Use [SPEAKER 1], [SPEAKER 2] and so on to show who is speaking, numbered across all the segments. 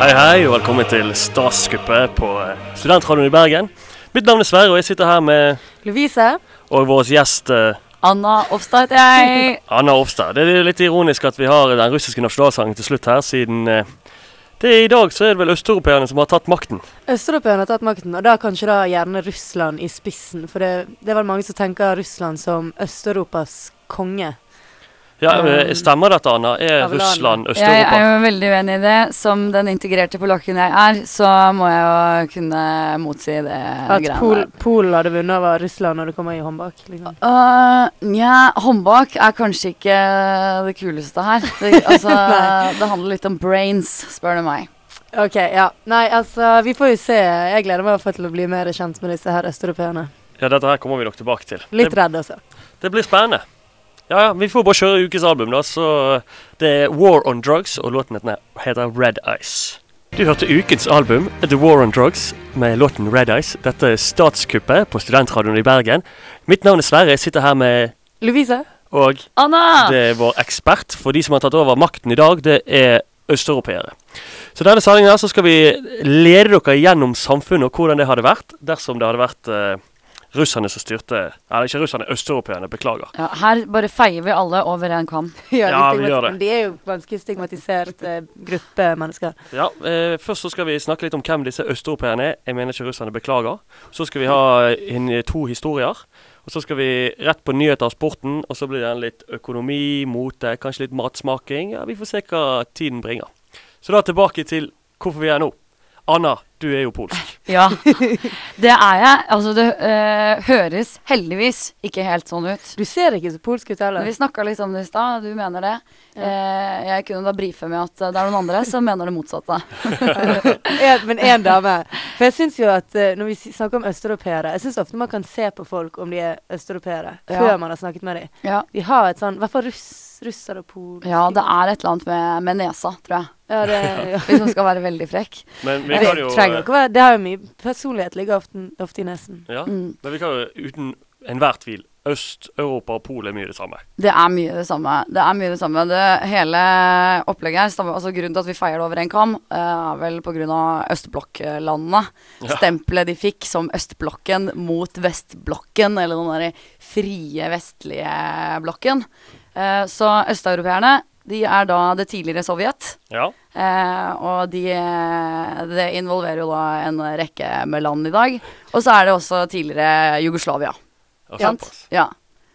[SPEAKER 1] hei, og velkommen til Statskuppet på eh, Studentradioen i Bergen. Mitt navn er Sverre, og jeg sitter her med
[SPEAKER 2] Lovise.
[SPEAKER 1] og vår gjest eh,
[SPEAKER 2] Anna Offstad heter jeg.
[SPEAKER 1] Anna Offstad. Det er litt ironisk at vi har den russiske nasjonalsangen til slutt her, siden eh, det er i dag så er det vel østeuropeerne som har tatt makten.
[SPEAKER 2] Østeuropeerne har tatt makten, og da kanskje da gjerne Russland i spissen. For det, det er vel mange som tenker Russland som Øst-Europas konge.
[SPEAKER 1] Ja,
[SPEAKER 2] Mm.
[SPEAKER 1] eh, Stemmer dette, Anna? Er
[SPEAKER 2] Abelan.
[SPEAKER 1] Russland
[SPEAKER 3] Jeg er
[SPEAKER 1] Øst-Europa?
[SPEAKER 3] jo veldig uenig i det. Som den integrerte polakken jeg er, så må jeg jo kunne motsi det
[SPEAKER 2] At
[SPEAKER 3] greiene
[SPEAKER 2] Pol,
[SPEAKER 3] der.
[SPEAKER 2] Polen hadde vunnet over Russland når det kommer i håndbak. Liksom.
[SPEAKER 3] Øh, Nja, håndbak er kanskje ikke det kuleste her. Det, altså,
[SPEAKER 2] Nei.
[SPEAKER 3] det handler litt om brains, spør du meg.
[SPEAKER 2] Ah, OK, ja. Nei, altså, vi får jo se. Jeg gleder meg i hvert fall til å bli mer kjent med disse her østeuropeerne.
[SPEAKER 1] Ja, dette her kommer vi nok tilbake til.
[SPEAKER 2] Litt
[SPEAKER 1] Det,
[SPEAKER 2] redd, altså.
[SPEAKER 1] det blir spennende. Ja, ja, Vi får bare kjøre ukens album, da. Så eh, det er War on Drugs, og låten heter- heter Red Ice. Du hørte ukens album The War on Drugs med låten Red Ice. Dette er Statskuppet på Studentradioen i Bergen. Mitt navn er Sverre. Jeg sitter her med
[SPEAKER 2] Lovise?
[SPEAKER 1] og
[SPEAKER 3] Anna!
[SPEAKER 1] Det er vår ekspert for de som har tatt over makten i dag. Det er østeuropeere. Så denne sendingen her så skal vi lede dere gjennom samfunnet og hvordan det hadde vært dersom det hadde vært eh, russerne som styrte Eller ikke russerne, østeuropeerne. Beklager.
[SPEAKER 3] Ja, her bare feier vi alle over en kam.
[SPEAKER 1] Ja, vi
[SPEAKER 2] stigmat-
[SPEAKER 1] gjør det.
[SPEAKER 2] De er jo ganske stigmatisert eh, gruppe mennesker.
[SPEAKER 1] Ja, eh, Først så skal vi snakke litt om hvem disse østeuropeerne er. Jeg mener ikke russerne. Beklager. Så skal vi ha eh, en, to historier. Og så skal vi rett på nyheter og sporten. Og så blir det en litt økonomi, mote, kanskje litt matsmaking. Ja, Vi får se hva tiden bringer. Så da tilbake til hvorfor vi er her nå. Anna, du er jo polsk.
[SPEAKER 3] Ja, det er jeg. Altså, det øh, høres heldigvis ikke helt sånn ut.
[SPEAKER 2] Du ser ikke så polsk ut
[SPEAKER 3] Men
[SPEAKER 2] heller.
[SPEAKER 3] Vi snakka litt om det i stad, du mener det. Eh, jeg kunne da brife med at eh, det er noen andre som mener det motsatte.
[SPEAKER 2] En- Men én dame. For jeg syns jo at eh, når vi s- snakker om østeuropeere Jeg syns ofte man kan se på folk om de er østeuropeere,
[SPEAKER 3] Ja.
[SPEAKER 2] før man har snakket med dem.
[SPEAKER 3] Ja.
[SPEAKER 2] De har et sånn I hvert fall russ, russer og pol.
[SPEAKER 3] ja, det er et eller annet med, med nesa, tror jeg.
[SPEAKER 2] Ja, det, ja.
[SPEAKER 3] Hvis man skal være veldig frekk.
[SPEAKER 1] Men vi
[SPEAKER 2] Det
[SPEAKER 1] kan jo, eh,
[SPEAKER 2] trenger ikke å være Det har jo mye Personlighet ligger ofte, ofte i nesen.
[SPEAKER 1] ja,
[SPEAKER 3] Mm.
[SPEAKER 1] men vi kan jo uten enhver tvil Øst-Europa og Polen er mye det samme.
[SPEAKER 3] Det er mye det samme. Det er mye det samme. Det hele opplegget her, stammer- altså grunnen til at vi feier det over en kam, eh, er vel på grunn av østblokklandene.
[SPEAKER 1] Ja.
[SPEAKER 3] Stempelet de fikk som østblokken mot vestblokken, eller den derre frie vestlige blokken. Eh, så østeuropeerne, de er da det tidligere Sovjet.
[SPEAKER 1] Ja,
[SPEAKER 3] Eh, og de, eh, det involverer jo da en rekke med land i dag. Og så er det også tidligere Jugoslavia.
[SPEAKER 1] og
[SPEAKER 3] Ja.
[SPEAKER 1] såpass.
[SPEAKER 3] Ja.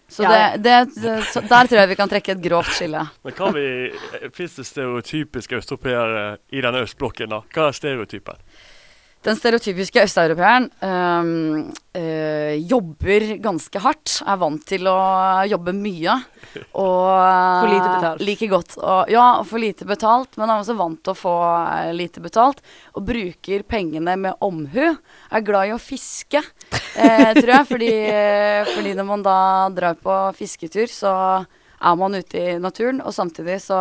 [SPEAKER 3] Så
[SPEAKER 2] Ja.
[SPEAKER 3] Det, det, det- så der tror jeg vi kan trekke et grovt skille.
[SPEAKER 1] Men hva vi, finnes det stereotypiske østeuropeere i denne østblokken da? Hva er stereotypen?
[SPEAKER 3] Den stereotypiske østeuropeeren øhm, øh, jobber ganske hardt, er vant til å jobbe mye. Og eh,
[SPEAKER 2] For lite betalt.
[SPEAKER 3] Like godt. Og, ja, og for lite betalt, men er også vant til å få eh, lite betalt. Og bruker pengene med omhu. Er glad i å fiske, eh, tror jeg. Fordi, eh, fordi når man da drar på fisketur, så er man ute i naturen, og samtidig så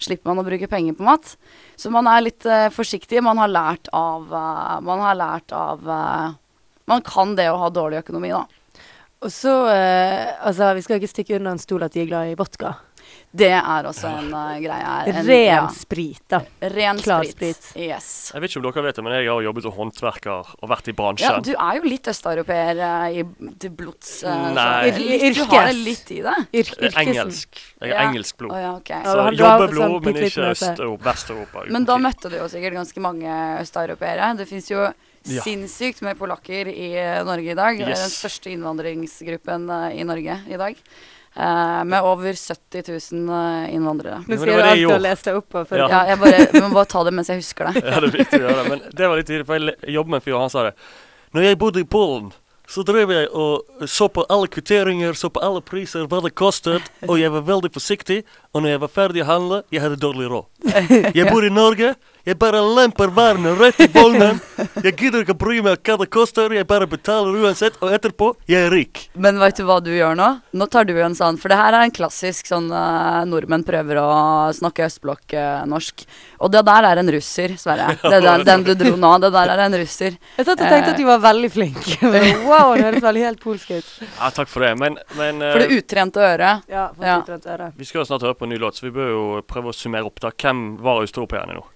[SPEAKER 3] slipper man å bruke penger på mat. Så man er litt eh, forsiktig. Man har lært av eh, Man har lært av eh, Man kan det å ha dårlig økonomi, da.
[SPEAKER 2] Og så eh, Altså, vi skal ikke stikke under en stol at de er glad i vodka.
[SPEAKER 3] Det er også en eh, greie her. En-
[SPEAKER 2] Ren
[SPEAKER 3] ja,
[SPEAKER 2] sprit, da.
[SPEAKER 3] ren
[SPEAKER 2] klar
[SPEAKER 3] sprit. Yes.
[SPEAKER 1] Jeg vet ikke om dere vet det, men jeg har jobbet som håndverker og vært i bransjen.
[SPEAKER 3] Ja, du er jo litt østeuropeer eh, i til blods. eh, så-
[SPEAKER 1] Nei.
[SPEAKER 3] Litt- Du har det litt i det.
[SPEAKER 2] Yr
[SPEAKER 1] Eh,
[SPEAKER 2] yrkesen.
[SPEAKER 1] Engelsk. Jeg har
[SPEAKER 3] Ja.
[SPEAKER 1] engelsk
[SPEAKER 3] Å
[SPEAKER 1] blod.
[SPEAKER 3] ja, liksom ok.
[SPEAKER 2] Ja,
[SPEAKER 1] Så
[SPEAKER 2] han drar
[SPEAKER 1] jobbeblod,
[SPEAKER 2] sånn
[SPEAKER 1] men
[SPEAKER 2] bitte litt
[SPEAKER 1] ikke
[SPEAKER 2] med seg.
[SPEAKER 1] Øst- og Vest-Europa. uten
[SPEAKER 3] Men da
[SPEAKER 1] tvil.
[SPEAKER 3] møtte du jo sikkert ganske mange østeuropeere. Det fins jo
[SPEAKER 1] Ja.
[SPEAKER 3] sinnssykt med polakker i eh, Norge i dag. Det er den
[SPEAKER 1] Yes.
[SPEAKER 3] største innvandringsgruppen eh, i Norge i dag. Eh, med over 70 000 eh,
[SPEAKER 1] men
[SPEAKER 2] Nå
[SPEAKER 3] innvandrere.
[SPEAKER 1] det
[SPEAKER 2] sier
[SPEAKER 1] var
[SPEAKER 2] du
[SPEAKER 1] det jeg
[SPEAKER 2] alt du har
[SPEAKER 1] gjorde.
[SPEAKER 2] lest deg opp på. for-
[SPEAKER 1] Ja.
[SPEAKER 3] Ja, jeg bare, vi må bare ta det mens jeg husker det.
[SPEAKER 1] Ja, det er viktig å gjøre det. Men det var litt tidlig, for jeg le- jobbet med en fyr, og han sa det. Når jeg bodde i Polen, så drev jeg og så på alle kvitteringer, så på alle priser, hva det kostet, og jeg var veldig forsiktig, og når jeg var ferdig å handle, jeg hadde dårlig råd. Jeg bor i Norge, jeg bare lemper varene rett i vognen, jeg gidder ikke bry meg hva det koster, jeg bare betaler uansett, og etterpå, jeg er rik.
[SPEAKER 3] Men veit du hva du gjør nå? Nå tar du en sånn, for det her er en klassisk sånn eh, nordmenn prøver å snakke østblokk-norsk. og det der er en russer, Sverre. Det der, den du dro nå, det der er en russer.
[SPEAKER 2] Jeg satt og tenkte at du var veldig flink. Men wow, det høres veldig helt polsk ut.
[SPEAKER 1] Ja, takk for det, men, men eh,
[SPEAKER 3] For det utrente øret
[SPEAKER 2] Ja, for
[SPEAKER 3] Ja.
[SPEAKER 2] et utrent øre.
[SPEAKER 1] vi skal jo snart høre på en ny låt, så vi bør jo prøve å summere opp da. Hvem var østeuropeerne nå?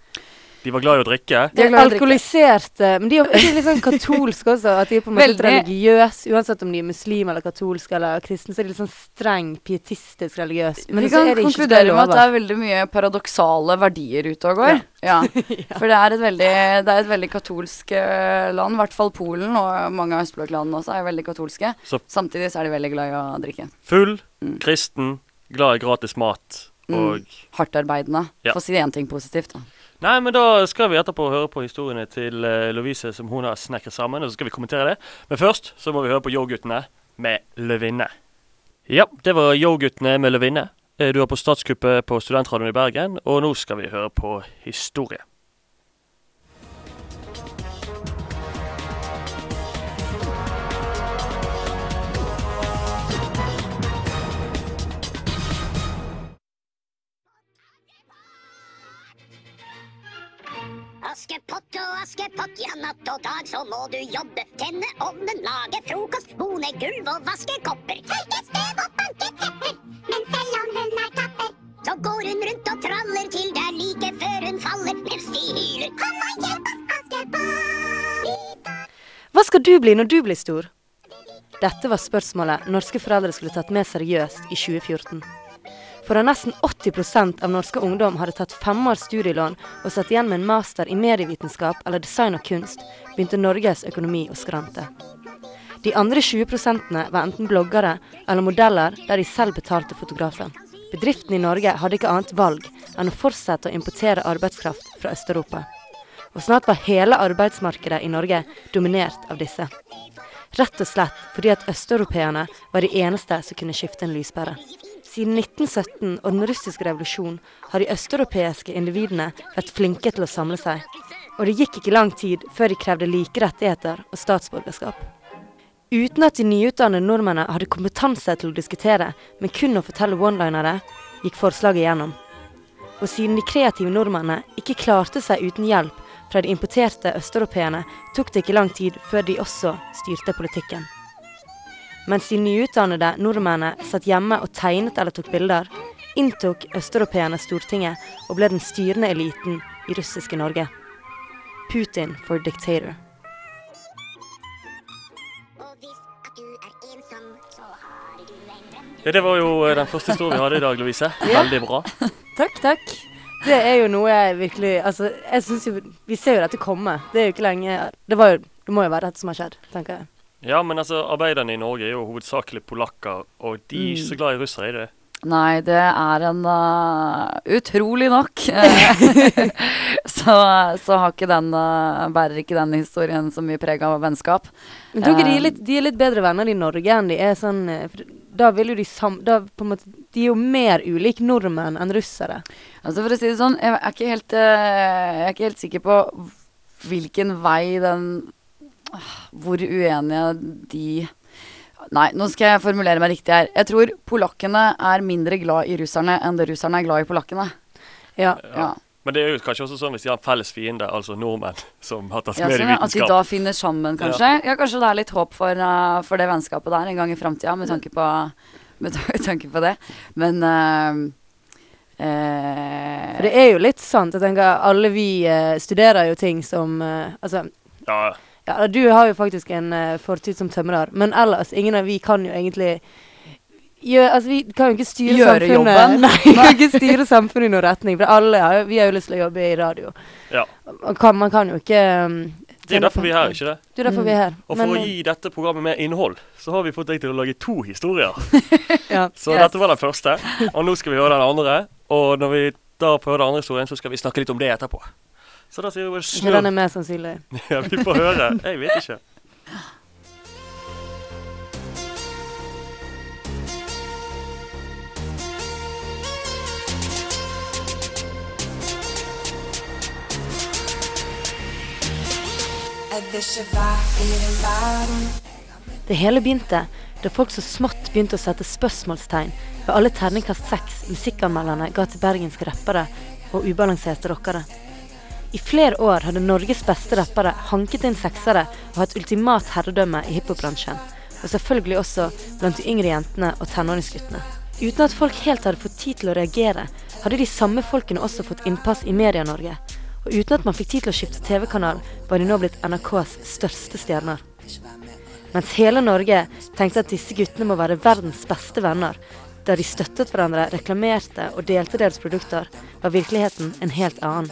[SPEAKER 1] De var glad i å drikke.
[SPEAKER 3] De er glad i å drikke.
[SPEAKER 2] alkoholiserte. Men de er de er litt sånn katolske også. At de er på en måte litt
[SPEAKER 3] Veldig.
[SPEAKER 2] religiøse, uansett om de er muslim eller katolske eller kristne. Så er de litt sånn streng, pietistisk religiøse. Men
[SPEAKER 3] Vi
[SPEAKER 2] så
[SPEAKER 3] kan
[SPEAKER 2] er de ikke så
[SPEAKER 3] konkludere med at det
[SPEAKER 2] lover.
[SPEAKER 3] er veldig mye paradoksale verdier ute og går. Ja. For det er et veldig, det er et veldig katolsk eh, land. I hvert fall Polen og mange av østblokklandene også er veldig katolske.
[SPEAKER 1] Så-
[SPEAKER 3] Samtidig så er de veldig glad i å drikke.
[SPEAKER 1] Full,
[SPEAKER 3] Mm.
[SPEAKER 1] kristen, glad i gratis mat og
[SPEAKER 3] Hardtarbeidende.
[SPEAKER 1] Ja.
[SPEAKER 3] For å si én ting positivt, da.
[SPEAKER 1] Nei, men da skal vi etterpå høre på historiene til eh, Lovise som hun har snekret sammen, og så skal vi kommentere det. Men først så må vi høre på Yo-guttene med Løvinne. Ja, det var Yo-guttene med Løvinne. Eh, Du er på statskuppet på Studentradioen i Bergen, og nå skal vi høre på historie.
[SPEAKER 4] Askepott og askepott, ja natt og dag så må du jobbe. Tenne ovnen, lage frokost, bone gulv og vaske kopper. Tørke støv og banke tepper, men selv om hun er tapper, så går hun rundt og traller til det er like før hun faller, mens de hyler. Kom og hjelp oss, Askepott!
[SPEAKER 2] Hva skal du bli når du blir stor? Dette var spørsmålet norske foreldre skulle tatt med seriøst i 2014. For da nesten 80 av norske ungdom hadde tatt fem års studielån og satt igjen med en master i medievitenskap eller design og kunst, begynte Norges økonomi å skrante. De andre 20 var enten bloggere eller modeller der de selv betalte fotografen. Bedriftene i Norge hadde ikke annet valg enn å fortsette å importere arbeidskraft fra Øst-Europa. Og snart var hele arbeidsmarkedet i Norge dominert av disse. Rett og slett fordi at østeuropeerne var de eneste som kunne skifte en lyspære. Siden 1917 og den russiske revolusjonen har de østeuropeiske individene vært flinke til å samle seg. Og det gikk ikke lang tid før de krevde like rettigheter og statsborgerskap. Uten at de nyutdannede nordmennene hadde kompetanse til å diskutere, men kun å fortelle one-linere, gikk forslaget gjennom. Og siden de kreative nordmennene ikke klarte seg uten hjelp fra de importerte østeuropeerne, tok det ikke lang tid før de også styrte politikken. Mens de nyutdannede nordmennene satt hjemme og tegnet eller tok bilder, inntok østeuropeerne Stortinget og ble den styrende eliten i russiske Norge. Putin for dictator.
[SPEAKER 4] Og hvis at du er ensom, så har du en venn.
[SPEAKER 1] Ja, det var jo eh, den første historien vi hadde i dag, Lovise. Veldig bra.
[SPEAKER 2] Takk, takk. Det er jo noe jeg virkelig Altså, jeg syns jo Vi ser jo dette komme. Det er jo ikke lenge Det, var jo, det må jo være dette som har skjedd, tenker jeg.
[SPEAKER 1] Ja, men altså, arbeiderne i Norge er jo hovedsakelig polakker, og de er ikke så glad i russere, er de det?
[SPEAKER 3] Nei, det er en eh, Utrolig nok eh, så, så har ikke den, eh, bærer ikke den historien så mye preg av vennskap.
[SPEAKER 2] Men tror ikke de
[SPEAKER 3] Eh,
[SPEAKER 2] er litt, de er litt bedre venner i Norge enn de er sånn eh, for Da vil jo de sam... Da på en måte De er jo mer ulike nordmenn enn russere.
[SPEAKER 3] Altså For å si det sånn, jeg er ikke helt, eh, jeg er ikke helt sikker på hvilken vei den ah, Hvor uenige de Nei, nå skal jeg formulere meg riktig her. Jeg tror polakkene er mindre glad i russerne enn det russerne er glad i polakkene.
[SPEAKER 2] Ja.
[SPEAKER 3] Ja,
[SPEAKER 1] Men det er jo kanskje også sånn hvis de har en felles fiende, altså nordmenn, som har tatt
[SPEAKER 3] ja
[SPEAKER 1] med i
[SPEAKER 3] sånn, ja, At de
[SPEAKER 1] vitenskap.
[SPEAKER 3] da finner sammen, kanskje. Ja, kanskje det er litt håp for, eh, for det vennskapet der en gang i framtida, med, tanke på- med ta- tanke på det. Men eh, eh,
[SPEAKER 2] For det er jo litt sant. Jeg tenker alle vi eh, studerer jo ting som eh, Altså
[SPEAKER 1] Ja,
[SPEAKER 2] Ja, du har jo faktisk en eh, fortid som tømrer, men ellers, ingen av vi kan jo egentlig gjø- altså, vi kan jo ikke styre
[SPEAKER 3] Gjøre
[SPEAKER 2] samfunnet.
[SPEAKER 3] jobben.
[SPEAKER 2] Nei, vi kan ikke styre samfunnet i noen retning, for alle har, jo- vi har jo lyst til å jobbe i radio.
[SPEAKER 1] ja.
[SPEAKER 2] Og kan, man kan jo ikke um,
[SPEAKER 1] Det er derfor vi er her, ikke det?
[SPEAKER 2] Det er
[SPEAKER 3] Mm.
[SPEAKER 2] derfor vi er her.
[SPEAKER 1] Og for
[SPEAKER 2] Men,
[SPEAKER 1] å
[SPEAKER 2] eh,
[SPEAKER 1] gi dette programmet mer innhold, så har vi fått deg til å lage to historier.
[SPEAKER 2] ja.
[SPEAKER 1] Så
[SPEAKER 3] Yes.
[SPEAKER 1] dette var den første, og nå skal vi høre den andre. Og når vi da får høre den andre historien, så skal vi snakke litt om det etterpå. Så da sier vi bare
[SPEAKER 2] Ikke den
[SPEAKER 1] snurr.
[SPEAKER 2] er mer sannsynlig.
[SPEAKER 1] Ja, vi får høre. Jeg vet ikke.
[SPEAKER 5] Er det ikke vær i den verden?
[SPEAKER 2] Det hele begynte da folk så smått begynte å sette spørsmålstegn ved alle terningkast seks musikkanmelderne ga til bergenske rappere og ubalanserte rockere. I flere år hadde Norges beste rappere hanket inn seksere og hatt ultimat herredømme i hiphop-bransjen, og selvfølgelig også blant de yngre jentene og tenåringsguttene. Uten at folk helt hadde fått tid til å reagere, hadde de samme folkene også fått innpass i Media-Norge, og uten at man fikk tid til å skifte TV-kanal, var de nå blitt NRKs største stjerner. Mens hele Norge tenkte at disse guttene må være verdens beste venner, der de støttet hverandre, reklamerte og delte deres produkter, var virkeligheten en helt annen.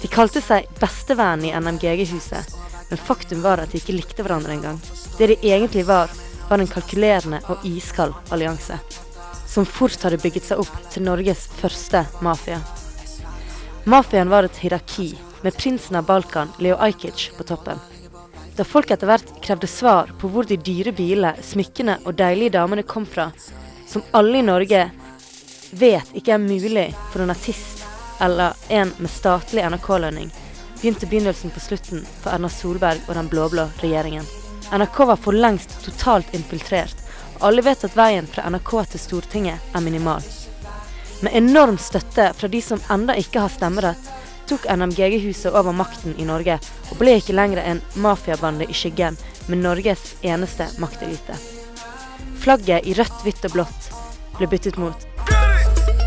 [SPEAKER 2] De kalte seg bestevennen i NMGG-huset, men faktum var at de ikke likte hverandre engang. Det de egentlig var, var en kalkulerende og iskald allianse. Som fort hadde bygget seg opp til Norges første mafia. Mafiaen var et hierarki, med prinsen av Balkan, Leo Ajkic, på toppen. Da folk etter hvert krevde svar på hvor de dyre bilene, smykkene og deilige damene kom fra, som alle i Norge vet ikke er mulig for en artist eller en med statlig NRK-lønning, begynte begynnelsen på slutten for Erna Solberg og den blå-blå regjeringen. NRK var for lengst totalt infiltrert, og alle vet at veien fra NRK til Stortinget er minimal. Med enorm støtte fra de som enda ikke har stemmerett, tok NMGG-huset over makten i Norge og ble ikke lenger en mafiabande i skyggen, men Norges eneste maktelite. Flagget i rødt, hvitt og blått ble byttet mot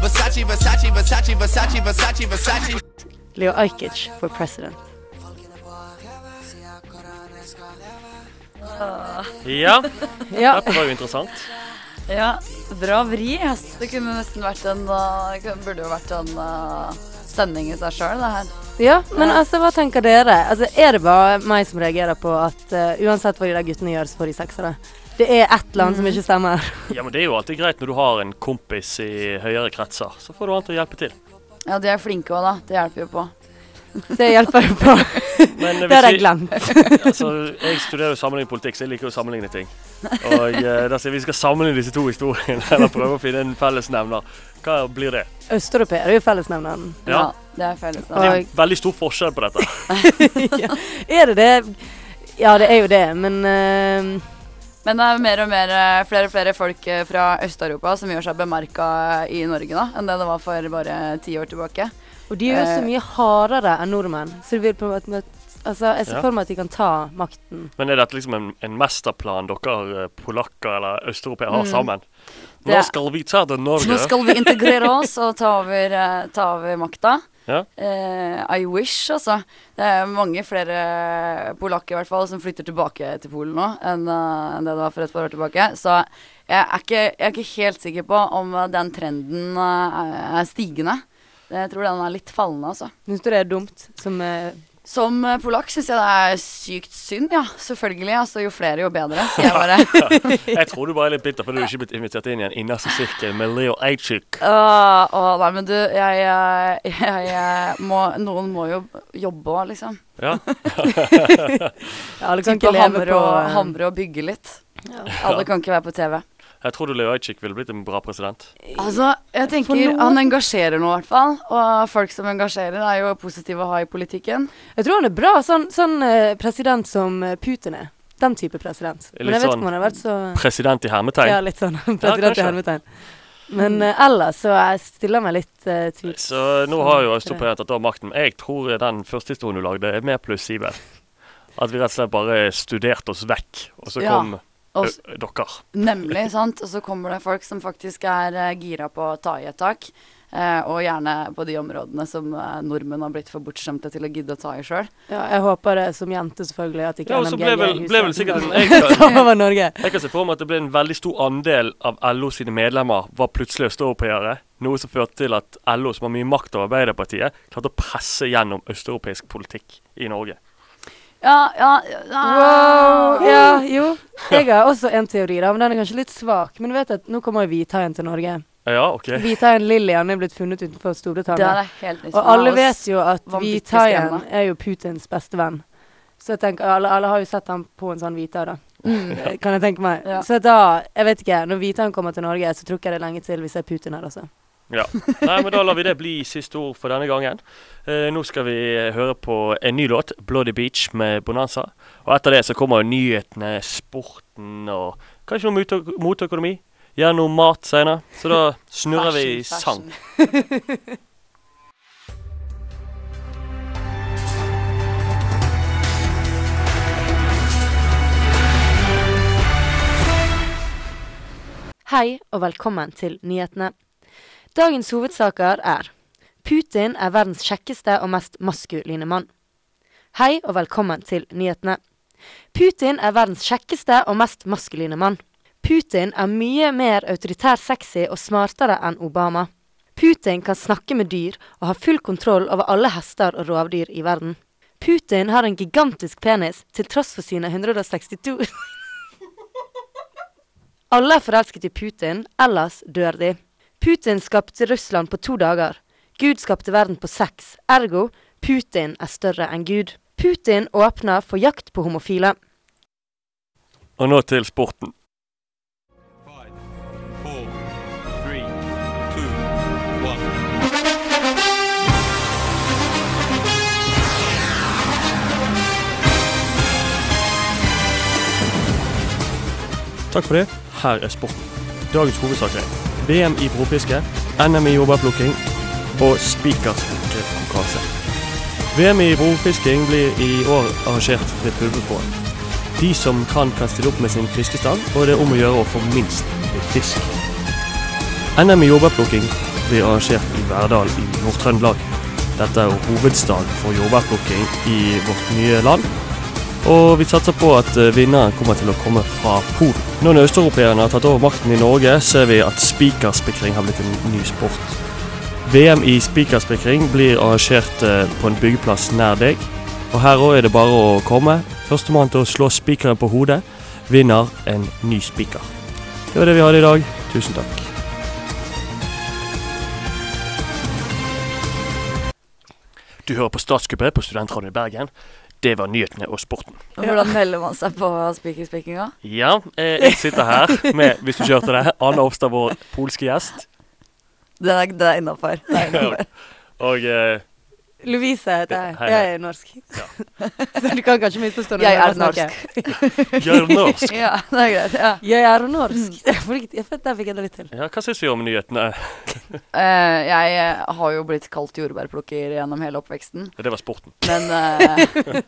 [SPEAKER 6] Versace, Versace, Versace, Versace, Versace, Versace.
[SPEAKER 2] Leo Ajkic for president.
[SPEAKER 1] Ja,
[SPEAKER 3] Ja,
[SPEAKER 1] dette var jo interessant.
[SPEAKER 3] ja. Bra vri, ass. Det kunne nesten vært en uh, Det kunne- burde jo vært en uh, sending i seg sjøl, det her.
[SPEAKER 2] Ja, men altså, hva tenker dere? Altså, Er det bare meg som reagerer på at eh, uansett hva de der guttene gjør, så får de seksere? Det er et eller annet som ikke stemmer.
[SPEAKER 1] Ja, men Det er jo alltid greit når du har en kompis i høyere kretser. Så får du han til å hjelpe til.
[SPEAKER 3] Ja, de er flinke òg, da. Det hjelper jo på.
[SPEAKER 2] Det hjelper jo på.
[SPEAKER 1] Men eh,
[SPEAKER 2] Det har jeg glemt.
[SPEAKER 1] altså, jeg studerer jo sammenligning politikk, så jeg liker jo å sammenligne ting. Og eh, da sier vi skal sammenligne disse to historiene, eller prøve å finne en fellesnevner. Hva blir det?
[SPEAKER 2] Østeuropeere er jo fellesnevneren.
[SPEAKER 1] Ja.
[SPEAKER 3] det er felles.
[SPEAKER 1] Det
[SPEAKER 3] da.
[SPEAKER 1] er jo veldig stor forskjell på dette.
[SPEAKER 2] ja. Er det det? Ja, det er jo det, men eh,
[SPEAKER 3] Men det er mer og mer eh, flere og flere folk eh, fra Øst-Europa som gjør seg bemerka i Norge da, enn det det var for bare ti år tilbake.
[SPEAKER 2] Og de er jo så
[SPEAKER 3] Eh.
[SPEAKER 2] mye hardere enn nordmenn, så de vil på en måte Altså, jeg ser
[SPEAKER 1] Ja.
[SPEAKER 2] for meg at de kan ta makten.
[SPEAKER 1] Men er dette liksom en, en mesterplan dere eh, polakker eller østeuropeere har sammen?
[SPEAKER 3] Mm. Det er-
[SPEAKER 1] Nå skal vi ta til
[SPEAKER 3] Så nå
[SPEAKER 1] Norge.
[SPEAKER 3] skal vi integrere oss og ta over, eh, ta over makta.
[SPEAKER 1] Ja.
[SPEAKER 3] Eh, I wish, altså. Det er mange flere polakker i hvert fall som flytter tilbake til Polen nå enn eh, enn det det var for et par år tilbake. Så jeg er ikke, jeg er ikke helt sikker på om eh, den trenden eh, er stigende. Jeg tror den er litt fallende, altså.
[SPEAKER 2] Syns du det er dumt? Som eh,
[SPEAKER 3] Som eh, polakk syns jeg det er sykt synd, ja. Selvfølgelig. Altså, jo flere, jo bedre. Sier jeg bare.
[SPEAKER 1] Jeg tror du bare er litt bitter fordi du ikke er blitt invitert inn i en innerste sirkel med Leo Ajczyk.
[SPEAKER 3] Åh, åh, nei, men du, jeg, eh, jeg, eh, må Noen må jo jobbe òg, liksom.
[SPEAKER 1] Ja.
[SPEAKER 2] ja, Alle kan
[SPEAKER 3] Type
[SPEAKER 2] ikke leve
[SPEAKER 3] hamre
[SPEAKER 2] på
[SPEAKER 3] og,
[SPEAKER 2] eh,
[SPEAKER 3] hamre og bygge litt. Alle kan ikke være på TV.
[SPEAKER 1] Jeg tror du Leo Ajczyk ville blitt en bra president.
[SPEAKER 3] Altså, jeg tenker
[SPEAKER 2] noen-
[SPEAKER 3] Han engasjerer nå, i hvert fall. Og folk som engasjerer, er jo positive å ha i politikken.
[SPEAKER 2] Jeg tror han er bra sånn, sånn eh, president som eh, Putin er. Den type president. Men
[SPEAKER 1] Litt
[SPEAKER 2] jeg vet
[SPEAKER 1] sånn
[SPEAKER 2] ikke om han har vært så
[SPEAKER 1] President i
[SPEAKER 2] Ja,
[SPEAKER 1] hermetegn.
[SPEAKER 2] litt sånn president i
[SPEAKER 1] kanskje.
[SPEAKER 2] hermetegn. Men eh, ellers så jeg stiller meg litt eh, tvil.
[SPEAKER 1] Så nå har jo Øst-Europa tatt over makten. Jeg tror den første historien du lagde, er mer plausibel. At vi rett og slett bare studerte oss vekk, og så
[SPEAKER 3] Ja.
[SPEAKER 1] kom
[SPEAKER 3] Og
[SPEAKER 1] ø,
[SPEAKER 3] s-
[SPEAKER 1] dere.
[SPEAKER 3] Nemlig, sant. Og så kommer det folk som faktisk er eh, gira på å ta i et tak. Eh, og gjerne på de områdene som eh, nordmenn har blitt for bortskjemte til å gidde å ta i sjøl.
[SPEAKER 2] Ja, jeg håper det som jente, selvfølgelig, at ikke
[SPEAKER 1] Ja, og så ble vel, ble vel sikkert en jeg,
[SPEAKER 2] Ta over Norge.
[SPEAKER 1] jeg kan se for meg at det ble en veldig stor andel av LO sine medlemmer var plutselig østeuropeere. eh? Noe som førte til at LO, som har mye makt over Arbeiderpartiet, klarte å presse gjennom østeuropeisk politikk i Norge.
[SPEAKER 3] Ja, ja, ja.
[SPEAKER 2] Wow! Ja, jo. Jeg har også en teori, da, men den er kanskje litt svak. Men du vet at nå kommer jo hvithaien til Norge.
[SPEAKER 1] Ja, OK.
[SPEAKER 2] Hvithaien Lillian er blitt funnet utenfor
[SPEAKER 3] Det her
[SPEAKER 2] Storbritannia.
[SPEAKER 3] er helt nytt.
[SPEAKER 2] Og
[SPEAKER 3] for meg,
[SPEAKER 2] alle
[SPEAKER 3] ass.
[SPEAKER 2] vet jo at
[SPEAKER 3] vanvittig
[SPEAKER 2] hvithaien
[SPEAKER 3] skremmende.
[SPEAKER 2] er jo Putins beste venn. Så jeg tenker, alle, alle har jo sett ham på en sånn hvithai, da. Kan jeg tenke meg.
[SPEAKER 3] Mm. Ja.
[SPEAKER 2] Så da, jeg vet ikke, når hvithaien kommer til Norge, så tror ikke jeg det er lenge til vi ser Putin her, altså.
[SPEAKER 1] Ja. Nei, men da lar vi det bli siste ord for denne gangen. Eh, nå skal vi høre på en ny låt, 'Bloody Beach' med Bonanza. Og etter det så kommer jo nyhetene, sporten og kanskje noe mot- motøkonomi. Gjerne noe mat senere. Så da snurrer vi
[SPEAKER 3] Fashion,
[SPEAKER 1] sang.
[SPEAKER 3] fashion.
[SPEAKER 2] Hei og velkommen til nyhetene. Dagens hovedsaker er Putin er verdens kjekkeste og mest maskuline mann. Hei og velkommen til nyhetene. Putin er verdens kjekkeste og mest maskuline mann. Putin er mye mer autoritær sexy og smartere enn Obama. Putin kan snakke med dyr og har full kontroll over alle hester og rovdyr i verden. Putin har en gigantisk penis til tross for sine 162 alle er forelsket i Putin, ellers dør de. Putin skapte Russland på to dager. Gud skapte verden på seks, ergo Putin er større enn Gud. Putin åpner for jakt på homofile.
[SPEAKER 1] Og nå til sporten.
[SPEAKER 7] Five, four, three, two, one.
[SPEAKER 1] Takk for det. Her er sporten. Dagens hovedsaker er VM i profiske, NM i jordbærplukking og spikerskonkurranse. VM i brofisking blir i år arrangert ved Pulverspåen. De som kan, kan stille opp med sin fiskestand, og det er om å gjøre å få minst litt fisk. NM i jordbærplukking blir arrangert i Verdal i Nord-Trøndelag. Dette er jo hovedstaden for jordbærplukking i vårt nye land. Og vi satser på at eh, vinneren kommer til å komme fra Polen. Når de østeuropeerne har tatt over makten i Norge, ser vi at spikerspikring har blitt en ny sport. VM i spikerspikring blir arrangert eh, på en byggeplass nær deg. Og her òg er det bare å komme. Førstemann til å slå spikeren på hodet vinner en ny spiker. Det var det vi hadde i dag. Tusen takk. Du hører på Statskuppet på Studentradioen i Bergen. Det var nyhetene og sporten.
[SPEAKER 3] Hvordan melder man seg på spikerspekkinga?
[SPEAKER 1] Ja, eh, jeg sitter her med, hvis du ikke hørte det, Anne Hofstad, vår polske gjest.
[SPEAKER 3] Det er, det er innafor.
[SPEAKER 1] Og eh,
[SPEAKER 2] Louise heter jeg.
[SPEAKER 1] Hei, hei.
[SPEAKER 2] Jeg er norsk. Så du kan kanskje misforstå når
[SPEAKER 3] Jeg
[SPEAKER 2] jeg
[SPEAKER 3] er
[SPEAKER 2] snakker.
[SPEAKER 1] gjør norsk.
[SPEAKER 3] Ja, det er greit. Ja.
[SPEAKER 2] Jeg er norsk. Jeg får ikke- jeg vet- Der fikk jeg det litt til.
[SPEAKER 1] Ja, hva syns vi om nyhetene?
[SPEAKER 3] Eh, jeg eh, har jo blitt kalt jordbærplukker gjennom hele oppveksten,
[SPEAKER 1] Det var sporten.
[SPEAKER 3] men eh,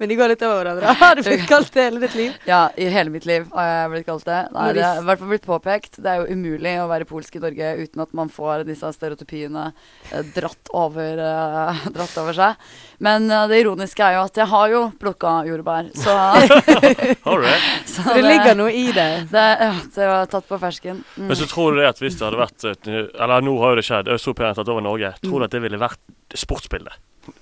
[SPEAKER 2] Men de går litt over hverandre. Har du blitt kalt det hele ditt liv?
[SPEAKER 3] Ja, i hele mitt liv har jeg blitt kalt det. Nei,
[SPEAKER 2] Når de
[SPEAKER 3] det
[SPEAKER 2] s-
[SPEAKER 3] har i hvert fall blitt påpekt. Det er jo umulig å være polsk i Norge uten at man får disse stereotypiene eh, dratt over, eh, dratt over seg. Men eh, det ironiske er jo at jeg har jo plukka jordbær, så,
[SPEAKER 1] Har du det?
[SPEAKER 3] så
[SPEAKER 2] Så det ligger noe i det.
[SPEAKER 3] det, ja, det var tatt på fersken. Mm.
[SPEAKER 1] Men så tror du det at hvis det hadde vært et, Eller nå har jo det skjedd, østeuropeerne har tatt over Norge. Tror du at det ville vært sportsbildet?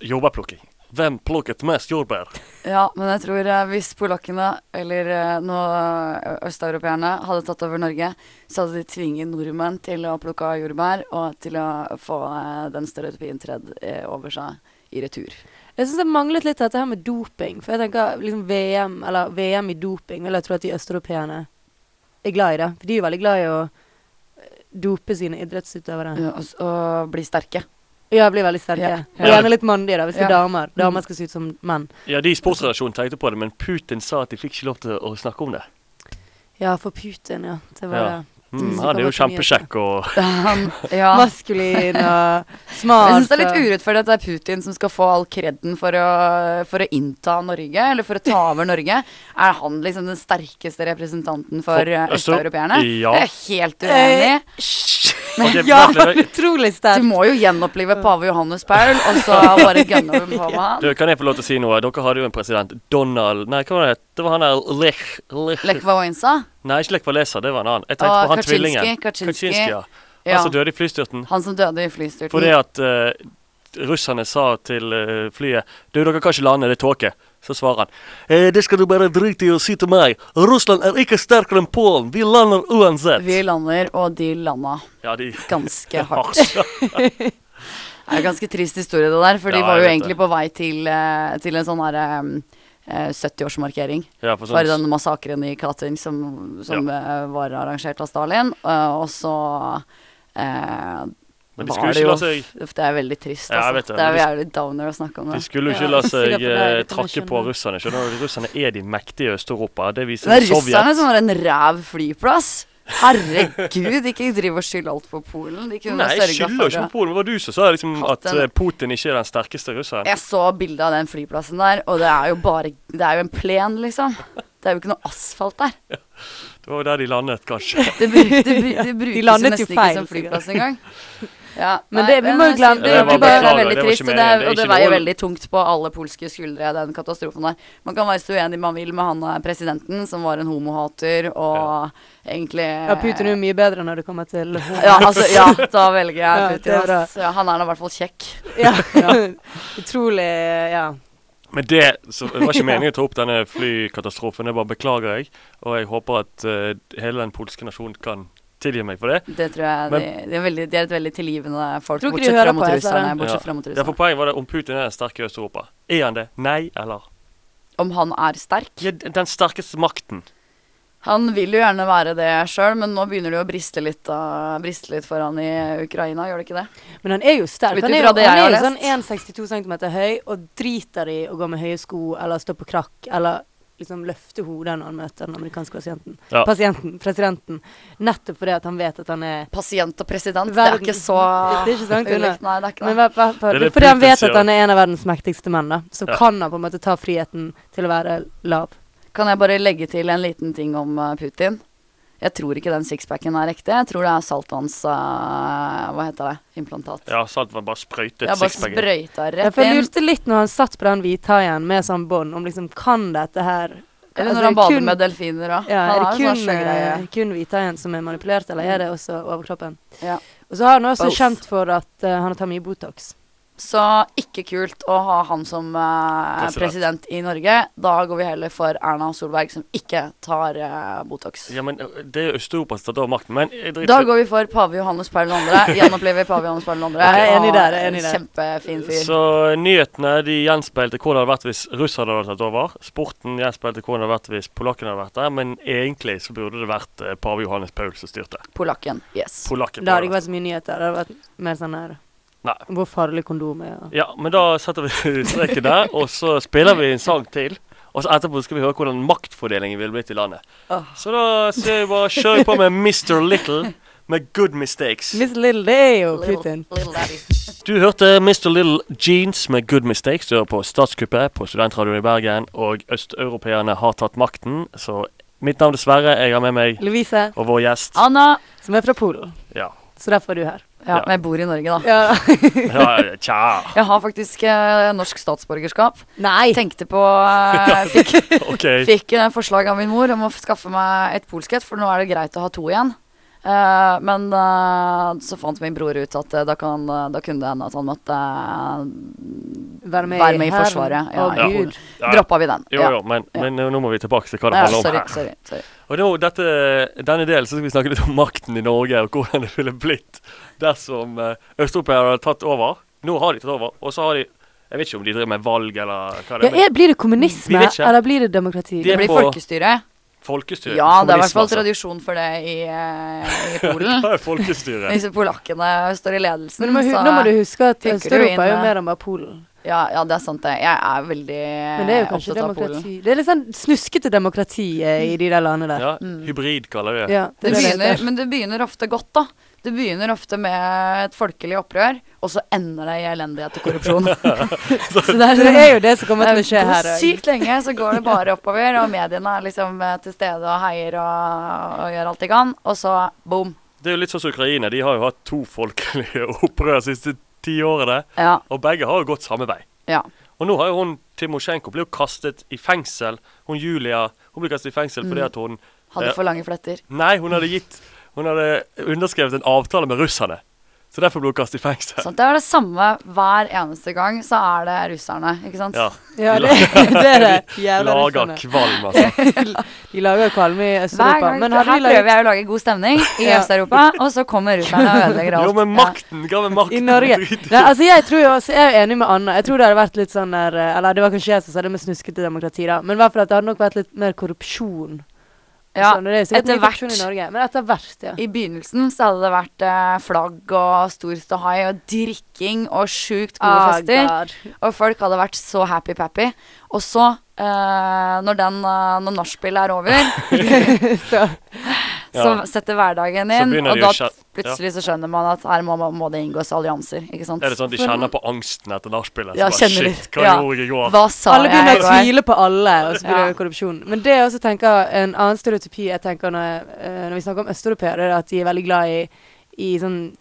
[SPEAKER 1] Jordbærplukking. Hvem plukket mest jordbær?
[SPEAKER 3] Ja, men jeg tror eh, hvis polakkene, eller eh, nå eh, østeuropeerne, hadde tatt over Norge, så hadde de tvinget nordmenn til å plukke av jordbær, og til å få eh, den stereotypien tredd eh, over seg i retur.
[SPEAKER 2] Jeg syns det manglet litt dette her med doping. For jeg tenker liksom VM eller VM i doping vil jeg tro at de østeuropeerne er glad i det. For de er jo veldig glad i å eh, dope sine idrettsutøvere.
[SPEAKER 3] Ja, og, s- og bli sterke.
[SPEAKER 2] Ja, Mm. bli veldig sterke.
[SPEAKER 3] Ja.
[SPEAKER 2] Og gjerne litt mandige, da, hvis det er
[SPEAKER 3] Ja.
[SPEAKER 2] damer. Damer skal se ut som menn.
[SPEAKER 1] Ja, de i sportsredaksjonen tenkte på det, men Putin sa at de fikk ikke lov til å snakke om det.
[SPEAKER 2] Ja, for Putin, ja. Det var
[SPEAKER 1] Ja.
[SPEAKER 2] det.
[SPEAKER 1] Mm, han er jo kjempekjekk og
[SPEAKER 3] Han, ja.
[SPEAKER 2] Maskulin og smart.
[SPEAKER 3] Jeg syns det er litt
[SPEAKER 2] og-
[SPEAKER 3] urettferdig at det er Putin som skal få all kreden for, å- for å innta Norge, eller for å ta over Norge. Er han liksom den sterkeste representanten for
[SPEAKER 1] For
[SPEAKER 3] eh,
[SPEAKER 1] Østeu-
[SPEAKER 3] østeuropeerne?
[SPEAKER 1] Ja.
[SPEAKER 3] Det er jeg helt uenig
[SPEAKER 2] Eh,
[SPEAKER 3] i.
[SPEAKER 1] Ok,
[SPEAKER 2] Ja,
[SPEAKER 1] vent litt.
[SPEAKER 2] utrolig
[SPEAKER 3] Du
[SPEAKER 2] sterk.
[SPEAKER 3] må jo gjenopplive pave Johannes Paul, og så bare gunne over på han.
[SPEAKER 1] Du, kan jeg få lov til å si noe? Dere hadde jo en president, Donald Nei, hva var det? Det var han der Lech, Lech.
[SPEAKER 3] Lech Wałęsa.
[SPEAKER 1] Nei, ikke Lech Walesa, det var en annen. Jeg tenkte
[SPEAKER 3] Og
[SPEAKER 1] på han
[SPEAKER 3] Kaczynski,
[SPEAKER 1] tvillingen.
[SPEAKER 3] Kaczynski.
[SPEAKER 1] ja.
[SPEAKER 3] Ja.
[SPEAKER 1] Han som døde i flystyrten.
[SPEAKER 3] Han som døde i flystyrten.
[SPEAKER 1] Fordi at eh, russerne sa til eh, flyet Du, dere kan ikke lande, det er tåke. Så svarer han eh, Det skal du bare drite i å si til meg. Russland er ikke sterkere enn Polen. Vi lander uansett.
[SPEAKER 3] Vi lander, og de landa
[SPEAKER 1] Ja, de
[SPEAKER 3] ganske hardt. Det er en ganske trist historie, det der. For de
[SPEAKER 1] Ja, jeg
[SPEAKER 3] var jo
[SPEAKER 1] vet
[SPEAKER 3] egentlig
[SPEAKER 1] det.
[SPEAKER 3] på vei til, eh, til en sånn her eh, eh, 70-årsmarkering.
[SPEAKER 1] Ja, for
[SPEAKER 3] For
[SPEAKER 1] sånn
[SPEAKER 3] den massakren i Katyn som, som eh, var arrangert av Stalin. eh, og så eh,
[SPEAKER 1] Men de
[SPEAKER 3] var
[SPEAKER 1] skulle
[SPEAKER 3] det
[SPEAKER 1] ikke la
[SPEAKER 3] jo- Det er veldig trist,
[SPEAKER 1] Ja, jeg
[SPEAKER 3] altså.
[SPEAKER 1] vet det,
[SPEAKER 3] det er jo
[SPEAKER 1] men
[SPEAKER 3] jævlig downer å snakke om
[SPEAKER 1] De
[SPEAKER 3] det.
[SPEAKER 1] skulle jo
[SPEAKER 2] Ja,
[SPEAKER 1] ikke la
[SPEAKER 2] jeg sier
[SPEAKER 1] seg
[SPEAKER 2] det, for det er
[SPEAKER 1] eh,
[SPEAKER 2] litt
[SPEAKER 1] trakke
[SPEAKER 2] skjønner.
[SPEAKER 1] på russerne. Skjønner du, Russerne er de mektige i Øst-Europa. Det viser
[SPEAKER 3] Det er sånn russerne
[SPEAKER 1] Sovjet.
[SPEAKER 3] som har en ræv flyplass. Herregud, ikke driv og skyld alt på Polen. De kunne
[SPEAKER 1] Nei,
[SPEAKER 3] bare
[SPEAKER 1] jeg
[SPEAKER 3] sørga
[SPEAKER 1] skylder
[SPEAKER 3] for
[SPEAKER 1] ikke
[SPEAKER 3] det.
[SPEAKER 1] på Polen. Det var du som sa liksom
[SPEAKER 3] Hatt
[SPEAKER 1] at
[SPEAKER 3] en-
[SPEAKER 1] eh, Putin ikke er den sterkeste russeren.
[SPEAKER 3] Jeg så bilde av den flyplassen der, og det er jo bare Det er jo en plen, liksom. Det er jo ikke noe asfalt der.
[SPEAKER 1] Det var jo der de landet, kanskje.
[SPEAKER 3] Det, bru, det, bru, det brukes jo
[SPEAKER 2] landet jo
[SPEAKER 3] nesten ikke
[SPEAKER 2] feil,
[SPEAKER 3] som
[SPEAKER 2] sikkert.
[SPEAKER 3] flyplass engang. Ja,
[SPEAKER 2] Men det- vi må jo
[SPEAKER 3] jeg
[SPEAKER 2] glemme-
[SPEAKER 3] synes
[SPEAKER 1] Det var-
[SPEAKER 3] ikke bare- det er
[SPEAKER 1] beklager,
[SPEAKER 3] veldig
[SPEAKER 1] det var
[SPEAKER 3] trist,
[SPEAKER 1] ikke meningen,
[SPEAKER 3] og det,
[SPEAKER 1] det
[SPEAKER 3] er,
[SPEAKER 1] er
[SPEAKER 3] og det
[SPEAKER 1] ikke
[SPEAKER 3] veier
[SPEAKER 1] noe-
[SPEAKER 3] veldig tungt på alle polske skuldre, den katastrofen der. Man kan være så uenig man vil med han eh, presidenten, som var en homohater, og egentlig
[SPEAKER 2] Ja, Putin er jo mye bedre når det kommer til
[SPEAKER 3] Ja, altså, ja, da velger
[SPEAKER 2] Ja,
[SPEAKER 3] jeg
[SPEAKER 2] det er
[SPEAKER 3] Putin. ass. Ja, han er nå i hvert fall kjekk.
[SPEAKER 2] Ja. Utrolig Ja.
[SPEAKER 1] Men det, så, det var ikke meningen å ta opp denne flykatastrofen. Det bare beklager jeg. Og jeg håper at eh, hele den polske nasjonen kan tilgi meg for det.
[SPEAKER 3] Det tror jeg
[SPEAKER 1] Men-
[SPEAKER 3] de, de, er veldig, de er et veldig tilgivende folk,
[SPEAKER 2] Tror ikke de
[SPEAKER 3] bortsett
[SPEAKER 2] hører
[SPEAKER 3] fra
[SPEAKER 2] på
[SPEAKER 3] mot
[SPEAKER 2] oss,
[SPEAKER 3] russerne.
[SPEAKER 2] Sara.
[SPEAKER 3] Bortsett fra mot
[SPEAKER 1] Derfor
[SPEAKER 3] russerne.
[SPEAKER 1] poenget var det om Putin er sterk i Øst-Europa. Er han det? Nei eller?
[SPEAKER 3] Om han er sterk?
[SPEAKER 1] Ja, den sterkeste makten.
[SPEAKER 3] Han vil jo gjerne være det sjøl, men nå begynner det jo å briste litt, da, briste litt for han i Ukraina, gjør det ikke det?
[SPEAKER 2] Men han er jo sterk.
[SPEAKER 3] Ut
[SPEAKER 2] Han er
[SPEAKER 3] ifra
[SPEAKER 2] jo,
[SPEAKER 3] det jeg
[SPEAKER 2] han er jo
[SPEAKER 3] har
[SPEAKER 2] sånn 1,62 cm høy og driter i å gå med høye sko eller stå på krakk eller liksom løfte hodet når han møter den amerikanske pasienten.
[SPEAKER 1] Ja.
[SPEAKER 2] Pasienten, presidenten. Nettopp fordi at han vet at han er
[SPEAKER 3] Pasient og president, det
[SPEAKER 2] Verden-
[SPEAKER 3] er ikke så
[SPEAKER 2] Det er ikke så langt unna.
[SPEAKER 3] ulikt. Nei, det er ikke
[SPEAKER 2] men
[SPEAKER 3] det.
[SPEAKER 2] hva- hva- hva-
[SPEAKER 1] Det er det
[SPEAKER 2] Fordi han
[SPEAKER 1] Putin
[SPEAKER 2] vet
[SPEAKER 1] sier.
[SPEAKER 2] at han er en av verdens mektigste menn, da. Så
[SPEAKER 1] Ja.
[SPEAKER 2] kan han på en måte ta friheten til å være lav.
[SPEAKER 3] Kan jeg bare legge til en liten ting om eh, Putin? Jeg tror ikke den sixpacken er ekte. Jeg tror det er saltvanns... eh, hva heter det? Implantat.
[SPEAKER 1] Ja, sant. Man bare sprøytet
[SPEAKER 3] Jeg har bare
[SPEAKER 1] sixpacken.
[SPEAKER 3] sprøyta
[SPEAKER 2] Ja,
[SPEAKER 3] rett
[SPEAKER 2] for jeg
[SPEAKER 3] inn.
[SPEAKER 2] lurte litt når han satt på den hvithaien med sånn bånd, om liksom kan dette her
[SPEAKER 3] Eller
[SPEAKER 2] Altså,
[SPEAKER 3] når han
[SPEAKER 2] det er
[SPEAKER 3] bader
[SPEAKER 2] kun-
[SPEAKER 3] med delfiner òg.
[SPEAKER 2] Ja, er
[SPEAKER 3] han har
[SPEAKER 2] det
[SPEAKER 3] jo
[SPEAKER 2] kun,
[SPEAKER 3] sånn skjegggreie.
[SPEAKER 2] eh, kun hvithaien som er manipulert, eller er det også overkroppen?
[SPEAKER 3] Ja.
[SPEAKER 2] Og så har han også
[SPEAKER 3] Both.
[SPEAKER 2] kjent for at eh, han tar mye Botox.
[SPEAKER 3] Så ikke kult å ha han som eh,
[SPEAKER 1] President.
[SPEAKER 3] president i Norge. Da går vi heller for Erna Solberg, som ikke tar eh, Botox.
[SPEAKER 1] Ja, men eh, det er jo Øst-Europa som tar da makten. Men jeg
[SPEAKER 3] Da
[SPEAKER 1] driter
[SPEAKER 3] går vi for pave Johannes Paul 2. Gjenopplever pave Johannes Paul 2.
[SPEAKER 2] Jeg er enig der, jeg er enig der.
[SPEAKER 3] Kjempefin fyr.
[SPEAKER 1] Så eh, nyhetene de gjenspeilte hvordan det hadde vært hvis russerne hadde tatt over. Sporten gjenspeilte hvordan det hadde vært hvis polakkene hadde vært der. Men egentlig så burde det vært eh, pave Johannes Paul som styrte.
[SPEAKER 3] Polakken. Yes.
[SPEAKER 1] Polakken.
[SPEAKER 2] Det hadde ikke
[SPEAKER 1] burde
[SPEAKER 2] vært så mye nyheter. Det hadde vært mer sånn her
[SPEAKER 1] Nei.
[SPEAKER 2] Hvor farlig kondom er. og-
[SPEAKER 1] Ja, men da setter vi streken der, og så spiller vi en sang til. Og så etterpå skal vi høre hvordan maktfordelingen ville blitt i landet.
[SPEAKER 3] Ah.
[SPEAKER 1] Så da ser vi bare kjører vi på med Mr. Little med Good Mistakes.
[SPEAKER 2] Miss Little, det er jo Putin.
[SPEAKER 3] Little Daddy.
[SPEAKER 1] Du hørte Mr. Little Jeans med Good Mistakes. Du hører på Statskuppet på Studentradioen i Bergen, og østeuropeerne har tatt makten. Så mitt navn er Sverre, jeg har med meg
[SPEAKER 2] Lovise,
[SPEAKER 1] og vår gjest.
[SPEAKER 3] Anna.
[SPEAKER 2] som er fra Polen.
[SPEAKER 1] Ja,
[SPEAKER 2] Så derfor er du her.
[SPEAKER 3] Ja,
[SPEAKER 1] Ja.
[SPEAKER 3] men jeg bor i Norge, da.
[SPEAKER 2] Ja.
[SPEAKER 1] ja tja.
[SPEAKER 3] Jeg har faktisk eh, norsk statsborgerskap.
[SPEAKER 2] Nei!
[SPEAKER 3] Tenkte på eh, Fikk,
[SPEAKER 1] OK.
[SPEAKER 3] fikk eh, forslag av min mor om å skaffe meg et polsk et, for nå er det greit å ha to igjen. Eh, men eh, så fant min bror ut at eh, da, kan, eh, da kunne det hende at han måtte
[SPEAKER 2] Vær med,
[SPEAKER 3] Vær med i
[SPEAKER 2] hæren.
[SPEAKER 3] Forsvaret, ja,
[SPEAKER 2] Å,
[SPEAKER 3] ja.
[SPEAKER 2] Gud.
[SPEAKER 1] Ja,
[SPEAKER 3] Droppa vi den.
[SPEAKER 1] Jo,
[SPEAKER 3] Ja.
[SPEAKER 1] jo, men, men eh, nå må vi tilbake til hva det
[SPEAKER 3] Ja,
[SPEAKER 1] handler om
[SPEAKER 3] sorry,
[SPEAKER 1] her.
[SPEAKER 3] sorry, sorry.
[SPEAKER 1] Og nå, dette, denne delen så skal vi snakke litt om makten i Norge, og hvordan det ville blitt dersom uh, østeuropeerne hadde tatt over. Nå har de tatt over, og så har de Jeg vet ikke om de driver med valg eller hva det
[SPEAKER 2] Ja,
[SPEAKER 1] er. men
[SPEAKER 2] er, blir det
[SPEAKER 1] Vi
[SPEAKER 2] kommunisme,
[SPEAKER 1] vet ikke.
[SPEAKER 2] eller blir det demokrati?
[SPEAKER 1] Det
[SPEAKER 3] Det
[SPEAKER 1] er
[SPEAKER 3] blir
[SPEAKER 1] på-
[SPEAKER 3] folkestyre.
[SPEAKER 1] Folkestyre.
[SPEAKER 3] Ja, det er i hvert fall
[SPEAKER 1] kommunisme,
[SPEAKER 3] tradisjon for det i, eh, i
[SPEAKER 1] altså.
[SPEAKER 3] Polen.
[SPEAKER 1] Hva er folkestyre?
[SPEAKER 3] Hvis polakkene står i ledelsen,
[SPEAKER 2] Men nå må, hu- nå må du huske at
[SPEAKER 3] tenker du
[SPEAKER 2] Øst-Europa er jo
[SPEAKER 3] inn-
[SPEAKER 2] mer enn bare Polen.
[SPEAKER 3] ja, ja, det er sant, det. Jeg er veldig
[SPEAKER 2] Men det er jo kanskje
[SPEAKER 3] Eh, opptatt av Polen.
[SPEAKER 2] demokrati Det er litt sånn snuskete demokrati eh, i de der landene der.
[SPEAKER 1] Ja,
[SPEAKER 3] Mm.
[SPEAKER 1] Hybrid kaller vi det.
[SPEAKER 2] Ja, er
[SPEAKER 3] Det
[SPEAKER 2] det
[SPEAKER 3] begynner,
[SPEAKER 2] heter.
[SPEAKER 3] men det begynner ofte godt, da. Det begynner ofte med et folkelig opprør, og så ender det i elendighet og korrupsjon. så det
[SPEAKER 2] Så det er jo det som kommer til å skje
[SPEAKER 3] Eh,
[SPEAKER 2] her. også.
[SPEAKER 3] Sykt lenge så går det bare oppover, og mediene er liksom eh, til stede og heier og, og gjør alt de kan, og så boom.
[SPEAKER 1] Det er jo litt sånn som Ukraina. De har jo hatt to folkelige opprør de siste ti årene.
[SPEAKER 3] Ja,
[SPEAKER 1] Og begge har jo gått samme vei.
[SPEAKER 3] ja.
[SPEAKER 1] Og nå har jo hun Timosjenko blir jo kastet i fengsel. Hun Julia hun blir kastet i fengsel fordi at hun
[SPEAKER 3] Mm.
[SPEAKER 1] eh,
[SPEAKER 3] Hadde
[SPEAKER 1] Ja.
[SPEAKER 3] for lange fletter.
[SPEAKER 1] Nei, hun hadde gitt Hun hadde underskrevet en avtale med russerne. Så derfor ble hun kastet i fengsel.
[SPEAKER 3] Sånn, det er det samme hver eneste gang, så er det russerne, ikke sant?
[SPEAKER 1] Ja.
[SPEAKER 2] Ja,
[SPEAKER 1] De
[SPEAKER 2] det, det er det.
[SPEAKER 1] la-
[SPEAKER 2] Jævla
[SPEAKER 1] lager
[SPEAKER 2] russerne.
[SPEAKER 1] kvalm, altså.
[SPEAKER 2] De lager kvalme i
[SPEAKER 3] Hver
[SPEAKER 2] Øst-Europa.
[SPEAKER 3] gang,
[SPEAKER 2] Men
[SPEAKER 3] her
[SPEAKER 2] hadde de laget
[SPEAKER 3] prøver jeg å lage god stemning i
[SPEAKER 2] Ja.
[SPEAKER 3] Øst-Europa, og så kommer russerne og ødelegger alt.
[SPEAKER 1] Jo, men makten! Hva med makten?
[SPEAKER 2] i Norge
[SPEAKER 1] Drit i-
[SPEAKER 2] Nei, altså Jeg tror jo også, jeg er jo enig med Anna. Jeg tror det hadde vært litt sånn der eh, Eller det var kanskje jeg som sa det med snuskete demokrati, da. Men i hvert fall at det hadde nok vært litt mer korrupsjon.
[SPEAKER 3] Ja,
[SPEAKER 2] Sånn, og det er jo sikkert
[SPEAKER 3] etter
[SPEAKER 2] mye korrupsjon
[SPEAKER 3] hvert.
[SPEAKER 2] I Norge, men etter hvert, ja.
[SPEAKER 3] I begynnelsen så hadde det vært eh, flagg og stor ståhei og drikking og sjukt gode
[SPEAKER 2] Ah,
[SPEAKER 3] fester.
[SPEAKER 2] God.
[SPEAKER 3] Og folk hadde vært så happy-pappy. Og så, eh, når, den, eh, når nachspielet er over, så
[SPEAKER 1] Ja.
[SPEAKER 3] setter hverdagen
[SPEAKER 1] Så
[SPEAKER 3] inn,
[SPEAKER 1] begynner
[SPEAKER 3] og
[SPEAKER 1] de
[SPEAKER 3] da
[SPEAKER 1] å skjø-
[SPEAKER 3] plutselig så skjønner man at her må, må det inngås allianser, ikke sant?
[SPEAKER 1] Er det sånn de kjenner på angsten etter nachspielet?
[SPEAKER 3] Ja,
[SPEAKER 1] Så bare,
[SPEAKER 3] kjenner
[SPEAKER 1] Shit,
[SPEAKER 3] litt.
[SPEAKER 1] hva
[SPEAKER 3] Ja.
[SPEAKER 1] gjorde jeg i går?
[SPEAKER 3] Hva sa
[SPEAKER 2] Alle begynner
[SPEAKER 3] jeg i
[SPEAKER 2] å
[SPEAKER 3] går?
[SPEAKER 2] tvile på alle, og så blir det
[SPEAKER 3] Ja.
[SPEAKER 2] jo korrupsjon. Men det jeg også tenker, en annen stereotypi jeg tenker når, jeg, eh, når vi snakker om østeuropeere, er at de er veldig glad i, i sånn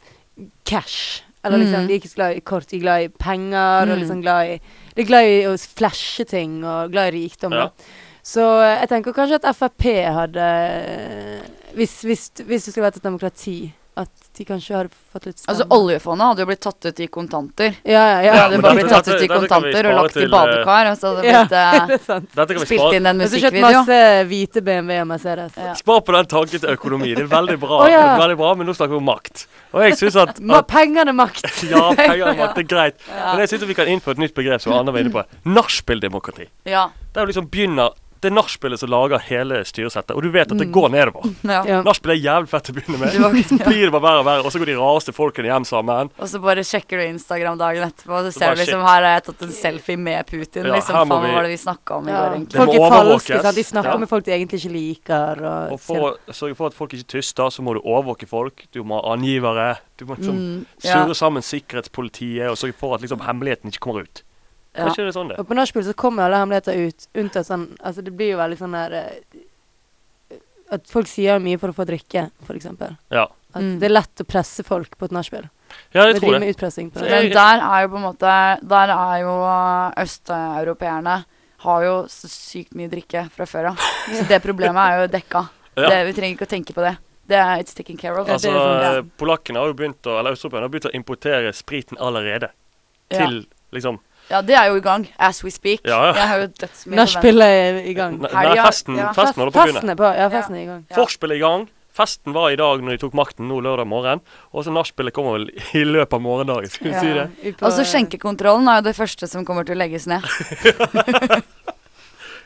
[SPEAKER 2] cash. Eller liksom,
[SPEAKER 3] Mm.
[SPEAKER 2] de er ikke så glad i kort, de er glad i penger, og liksom glad i De er glad i å flashe ting, og glad i rikdom.
[SPEAKER 1] Ja.
[SPEAKER 2] da. Så eh, jeg tenker kanskje at Frp hadde eh, Hvis, hvis, hvis det skulle vært et demokrati, at de kanskje hadde fått litt
[SPEAKER 3] Altså Oljefondet hadde jo blitt tatt ut i kontanter.
[SPEAKER 2] Ja, ja, ja.
[SPEAKER 3] Det hadde
[SPEAKER 1] men
[SPEAKER 3] bare
[SPEAKER 1] dette-
[SPEAKER 3] blitt tatt ut
[SPEAKER 1] dette- dette
[SPEAKER 3] i
[SPEAKER 1] kan vi
[SPEAKER 3] kontanter og
[SPEAKER 1] spare
[SPEAKER 3] lagt i
[SPEAKER 1] til, eh,
[SPEAKER 3] badekar. Og så hadde det
[SPEAKER 2] Ja,
[SPEAKER 3] blitt eh,
[SPEAKER 2] det er sant.
[SPEAKER 1] Dette kan vi
[SPEAKER 3] spilt
[SPEAKER 1] spare,
[SPEAKER 3] inn en
[SPEAKER 2] Jeg har kjøpt
[SPEAKER 3] musikkvideo.
[SPEAKER 2] masse hvite BMW og Mercedes.
[SPEAKER 3] Ja.
[SPEAKER 1] spar på den tanken til økonomi. Det er veldig bra,
[SPEAKER 2] Å, ja.
[SPEAKER 1] veldig bra men nå snakker vi om makt. Og jeg synes at,
[SPEAKER 2] Ma
[SPEAKER 1] at
[SPEAKER 2] penger er makt.
[SPEAKER 1] ja, penger og makt er greit. Men jeg synes at vi kan innføre et nytt begrep som Anna var inne på. Nachspieldemokrati.
[SPEAKER 3] Ja.
[SPEAKER 1] Det er jo liksom begynner Det er nachspielet som lager hele styresettet, og du vet at
[SPEAKER 2] Mm.
[SPEAKER 1] det går nedover.
[SPEAKER 3] ja.
[SPEAKER 2] Ja.
[SPEAKER 1] Nachspiel er jævlig fett å begynne med.
[SPEAKER 3] Du var-
[SPEAKER 1] Så blir det bare verre og verre, og så går de rareste folkene hjem sammen.
[SPEAKER 3] Og så bare sjekker du Instagram dagen etterpå, og så ser
[SPEAKER 1] bare
[SPEAKER 3] du liksom
[SPEAKER 1] shit.
[SPEAKER 3] her har jeg tatt en selfie med Putin.
[SPEAKER 1] Ja,
[SPEAKER 3] liksom,
[SPEAKER 1] her
[SPEAKER 3] faen,
[SPEAKER 1] må
[SPEAKER 3] hva
[SPEAKER 1] vi-
[SPEAKER 3] var det vi snakka om i
[SPEAKER 2] Ja.
[SPEAKER 3] går, egentlig?
[SPEAKER 1] må
[SPEAKER 2] Folk er
[SPEAKER 1] overvåkes.
[SPEAKER 2] falske. Sant? De snakker
[SPEAKER 1] Ja.
[SPEAKER 2] med folk de egentlig ikke liker. Og,
[SPEAKER 1] Og for å sørge for at folk ikke tyster, så må du overvåke folk. Du må ha angivere. Du må liksom
[SPEAKER 3] ja.
[SPEAKER 1] surre sammen sikkerhetspolitiet og sørge for at liksom hemmeligheten ikke kommer ut.
[SPEAKER 3] Ja.
[SPEAKER 1] Kanskje det er sånn det
[SPEAKER 2] Og på nachspiel så kommer alle hemmeligheter ut, unntatt sånn Altså, det blir jo veldig sånn der eh, At folk sier mye for å få drikke, for eksempel.
[SPEAKER 1] Ja,
[SPEAKER 2] At
[SPEAKER 3] Mm.
[SPEAKER 2] det er lett å presse folk på et nachspiel.
[SPEAKER 1] ja
[SPEAKER 2] Det
[SPEAKER 1] jeg tror det.
[SPEAKER 2] driver med utpressing på
[SPEAKER 1] Så
[SPEAKER 2] det.
[SPEAKER 1] jeg-
[SPEAKER 3] Men der er jo på en måte Der er jo øh, østeuropeerne har jo så sykt mye drikke fra før av. Så det problemet er jo dekka.
[SPEAKER 1] Ja.
[SPEAKER 3] Det, vi trenger ikke å tenke på det. Det er it's taken care of.
[SPEAKER 1] Altså,
[SPEAKER 3] Ja.
[SPEAKER 1] Polakkene har jo begynt å, eller østeuropeerne har begynt å importere spriten allerede. Til liksom
[SPEAKER 3] ja, det er jo i gang. As we speak.
[SPEAKER 1] Ja, ja.
[SPEAKER 3] Jeg har jo dødsmye forvent-
[SPEAKER 2] Nachspielet er i gang.
[SPEAKER 1] Nei,
[SPEAKER 3] Helga-
[SPEAKER 1] nei, festen,
[SPEAKER 3] ja,
[SPEAKER 1] festen holder på å begynne.
[SPEAKER 2] Festen er på. Ja, festen er i gang.
[SPEAKER 3] Ja.
[SPEAKER 1] Forspillet er i gang. Festen var i dag når de tok makten nå lørdag morgen. Og så nachspielet kommer vel i løpet av morgendagen. Skal vi si det?
[SPEAKER 2] Ut på-
[SPEAKER 3] Og så Altså, skjenkekontrollen er jo det første som kommer til å legges ned.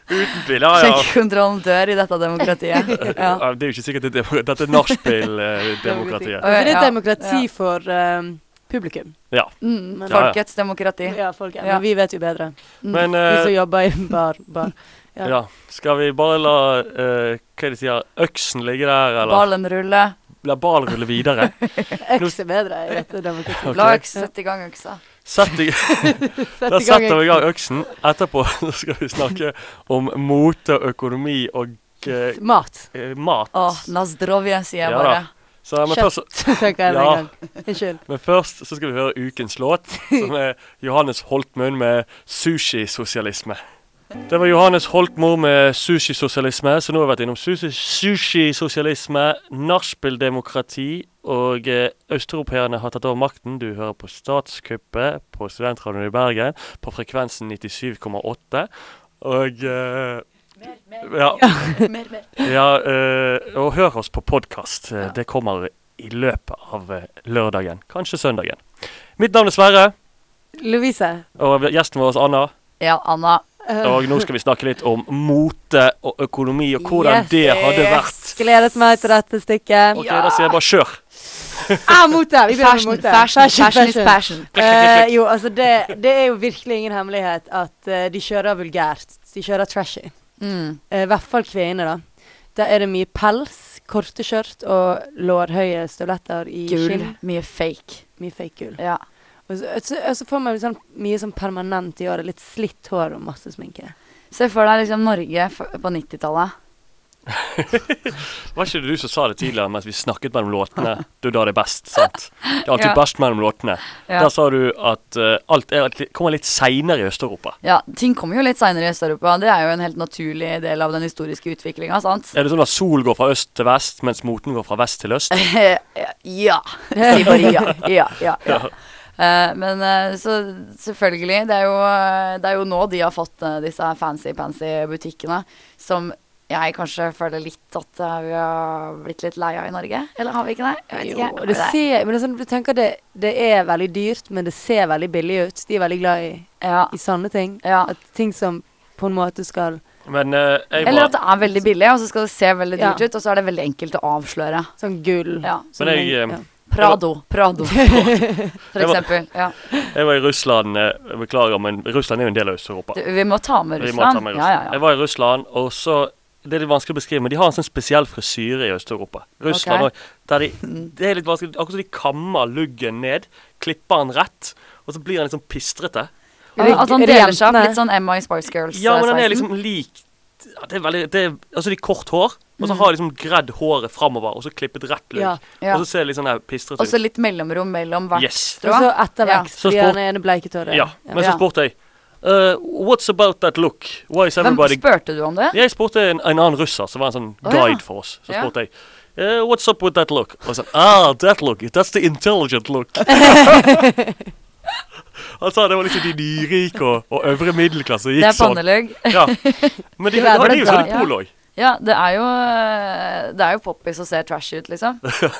[SPEAKER 1] Uten tvil. Ja, ja.
[SPEAKER 3] Skjenkekontrollen dør i dette demokratiet. Ja.
[SPEAKER 1] Ja, Det er jo ikke sikkert det er dette er nachspiel-demokratiet.
[SPEAKER 2] Altså, det er
[SPEAKER 3] Ja,
[SPEAKER 2] et demokrati
[SPEAKER 3] ja.
[SPEAKER 2] for eh, publikum.
[SPEAKER 1] Ja.
[SPEAKER 3] Mm,
[SPEAKER 1] Ja, ja.
[SPEAKER 3] folkets demokrati. Mm.
[SPEAKER 2] Ja, folk er,
[SPEAKER 3] Ja.
[SPEAKER 2] Men vi vet jo bedre.
[SPEAKER 1] Men
[SPEAKER 2] Vi som
[SPEAKER 1] eh,
[SPEAKER 2] jobber i bar. bar. ja.
[SPEAKER 1] ja. Skal vi bare la eh, hva er det de sier, øksen ligge der, eller
[SPEAKER 3] Ballen ruller.
[SPEAKER 1] la ballen rulle videre?
[SPEAKER 2] Øks er bedre i dette demokratiet.
[SPEAKER 1] Ok.
[SPEAKER 3] La øks sette i gang øksa.
[SPEAKER 1] Sett i,
[SPEAKER 2] Sett
[SPEAKER 1] da
[SPEAKER 2] i gang,
[SPEAKER 1] setter vi i gang
[SPEAKER 2] Øksen.
[SPEAKER 1] øksen. Etterpå så skal vi snakke om mote, økonomi og eh,
[SPEAKER 2] Mat,
[SPEAKER 1] eh, mat.
[SPEAKER 3] Åh, Nazdrovje, sier jeg
[SPEAKER 1] Ja da.
[SPEAKER 3] bare.
[SPEAKER 1] Så, men,
[SPEAKER 2] Kjøtt.
[SPEAKER 1] først,
[SPEAKER 2] tenker jeg med
[SPEAKER 1] Ja.
[SPEAKER 2] en gang. Unnskyld.
[SPEAKER 1] men først så skal vi høre ukens låt, som er Johannes Holtmunn med 'Sushisosialisme'. Det var Johannes Holtmor med sushisosialisme, så nå har vi vært innom sushi- sushisosialisme, nachspieldemokrati, og eh, østeuropeerne har tatt over makten. Du hører på Statskuppet på Studentradioen i Bergen på frekvensen 97,8, og eh, ja,
[SPEAKER 3] Mer, mer.
[SPEAKER 1] Ja, eh, og hør oss på podkast. Det kommer i løpet av eh, lørdagen. Kanskje søndagen. Mitt navn er Sverre,
[SPEAKER 2] Lovise.
[SPEAKER 1] og gjesten vår er Anna.
[SPEAKER 3] Ja, Anna.
[SPEAKER 1] Og nå skal vi snakke litt om mote og økonomi, og hvordan
[SPEAKER 2] Yes.
[SPEAKER 1] det hadde vært.
[SPEAKER 2] Gledet meg til dette stykket.
[SPEAKER 1] Ok, Da sier jeg bare kjør.
[SPEAKER 2] Ah, mote! Vi begynner med
[SPEAKER 3] Fashion,
[SPEAKER 2] mote.
[SPEAKER 3] fashion, fashion is passion.
[SPEAKER 2] Eh, jo, altså det, det er jo virkelig ingen hemmelighet at eh, de kjører vulgært. De kjører trashy.
[SPEAKER 3] Mm.
[SPEAKER 2] Eh, I hvert fall kvinner, da. Der er det mye pels, korte skjørt og lårhøye støvletter i
[SPEAKER 3] Gull.
[SPEAKER 2] skinn.
[SPEAKER 3] Mye fake.
[SPEAKER 2] Mye fake gull.
[SPEAKER 3] Ja.
[SPEAKER 2] Og så, og så, og så får man sånn, mye sånn permanent i året. Litt slitt hår og masse sminke.
[SPEAKER 3] Se for deg liksom Norge f- på 90-tallet.
[SPEAKER 1] Var ikke det du som sa det tidligere mens vi snakket mellom låtene? Det er da det er best, sant? Det er alltid
[SPEAKER 3] Ja.
[SPEAKER 1] best mellom låtene.
[SPEAKER 3] Ja.
[SPEAKER 1] Der sa du at eh, alt er, kommer litt seinere i Øst-Europa.
[SPEAKER 3] Ja, Ting kommer jo litt seinere i Øst-Europa. Det er jo en helt naturlig del av den historiske utviklinga, sant?
[SPEAKER 1] Er det sånn at sol går fra øst til vest, mens moten går fra vest til øst?
[SPEAKER 3] ja. Si bare ja. Ja, ja, ja. Eh, men eh, så selvfølgelig det er, jo, eh, det er jo nå de har fått eh, disse her fancy-pansy butikkene som jeg kanskje føler litt at eh, vi har blitt litt lei av i Norge. Eller har vi ikke det? Jeg vet
[SPEAKER 2] Jo,
[SPEAKER 3] ikke.
[SPEAKER 2] og det ser, men det er sånn, du tenker det, det er veldig dyrt, men det ser veldig billig ut. De er veldig glad i,
[SPEAKER 3] ja.
[SPEAKER 2] i sanne ting.
[SPEAKER 3] Ja.
[SPEAKER 2] At ting som på en måte skal
[SPEAKER 1] Men eh, jeg
[SPEAKER 3] Eller
[SPEAKER 1] var
[SPEAKER 3] at det er veldig billig, og så skal det se veldig
[SPEAKER 2] Ja.
[SPEAKER 3] dyrt ut, og så er det veldig enkelt å avsløre.
[SPEAKER 2] Sånn gull.
[SPEAKER 3] Ja.
[SPEAKER 2] sånn-
[SPEAKER 1] Men jeg, eh,
[SPEAKER 2] ja.
[SPEAKER 3] Prado. Prado, for
[SPEAKER 1] var-
[SPEAKER 3] eksempel. Ja.
[SPEAKER 1] Jeg var i Russland, eh, jeg beklager, men Russland er jo en del av Øst-Europa.
[SPEAKER 3] Du, vi må ta med
[SPEAKER 1] Vi må ta
[SPEAKER 3] Russland.
[SPEAKER 1] med
[SPEAKER 3] Ja, ja,
[SPEAKER 1] Russland. Jeg
[SPEAKER 3] ja.
[SPEAKER 1] var i Russland, og så Det er litt vanskelig å beskrive, men de har en sånn spesiell frisyre i Øst-Europa. Russland
[SPEAKER 3] Ok.
[SPEAKER 1] også, der de, Det er litt vanskelig Akkurat som de kammer luggen ned, klipper den rett, og så blir han litt sånn pistrete.
[SPEAKER 3] At han
[SPEAKER 2] Er det
[SPEAKER 3] deler seg opp
[SPEAKER 2] jentene?
[SPEAKER 3] litt sånn Emma i Spice Girls.
[SPEAKER 1] Ja, men den
[SPEAKER 3] eh,
[SPEAKER 1] er
[SPEAKER 3] sveisen.
[SPEAKER 1] liksom lik ja, det er veldig det er, Altså, de har kort hår, og så har de liksom gredd håret framover, og så klippet rett løk.
[SPEAKER 2] Ja,
[SPEAKER 3] Mm. ja.
[SPEAKER 1] Og så ser det litt sånn der pistrete
[SPEAKER 3] Og så
[SPEAKER 1] ut.
[SPEAKER 3] litt mellomrom mellom hvert
[SPEAKER 1] Yes.
[SPEAKER 2] Og
[SPEAKER 3] strå.
[SPEAKER 2] så ettervekst,
[SPEAKER 1] Ja.
[SPEAKER 2] fordi han er det bleiket håret.
[SPEAKER 1] Ja. Men
[SPEAKER 3] Ja.
[SPEAKER 1] så spurte jeg eh, What's about that look? Why is
[SPEAKER 3] Hvem
[SPEAKER 1] everybody
[SPEAKER 3] spurte du om det?
[SPEAKER 1] Jeg spurte en, en annen russer som var en sånn
[SPEAKER 3] Å, ja.
[SPEAKER 1] guide for oss. Så
[SPEAKER 3] Ja.
[SPEAKER 1] spurte jeg eh, What's up with that look? Og sånn Ah, that look. That's the intelligent look. Han sa det var liksom de nyrike og, og øvre middelklasse.
[SPEAKER 3] Det
[SPEAKER 1] Gikk
[SPEAKER 3] er pannelugg.
[SPEAKER 1] sånn. Ja. Men de, de, de,
[SPEAKER 3] var
[SPEAKER 1] er
[SPEAKER 3] det
[SPEAKER 1] jo sånn i
[SPEAKER 3] da, ja.
[SPEAKER 1] polo òg.
[SPEAKER 3] Ja, det er jo eh, Det er jo poppis å se trash ut, liksom.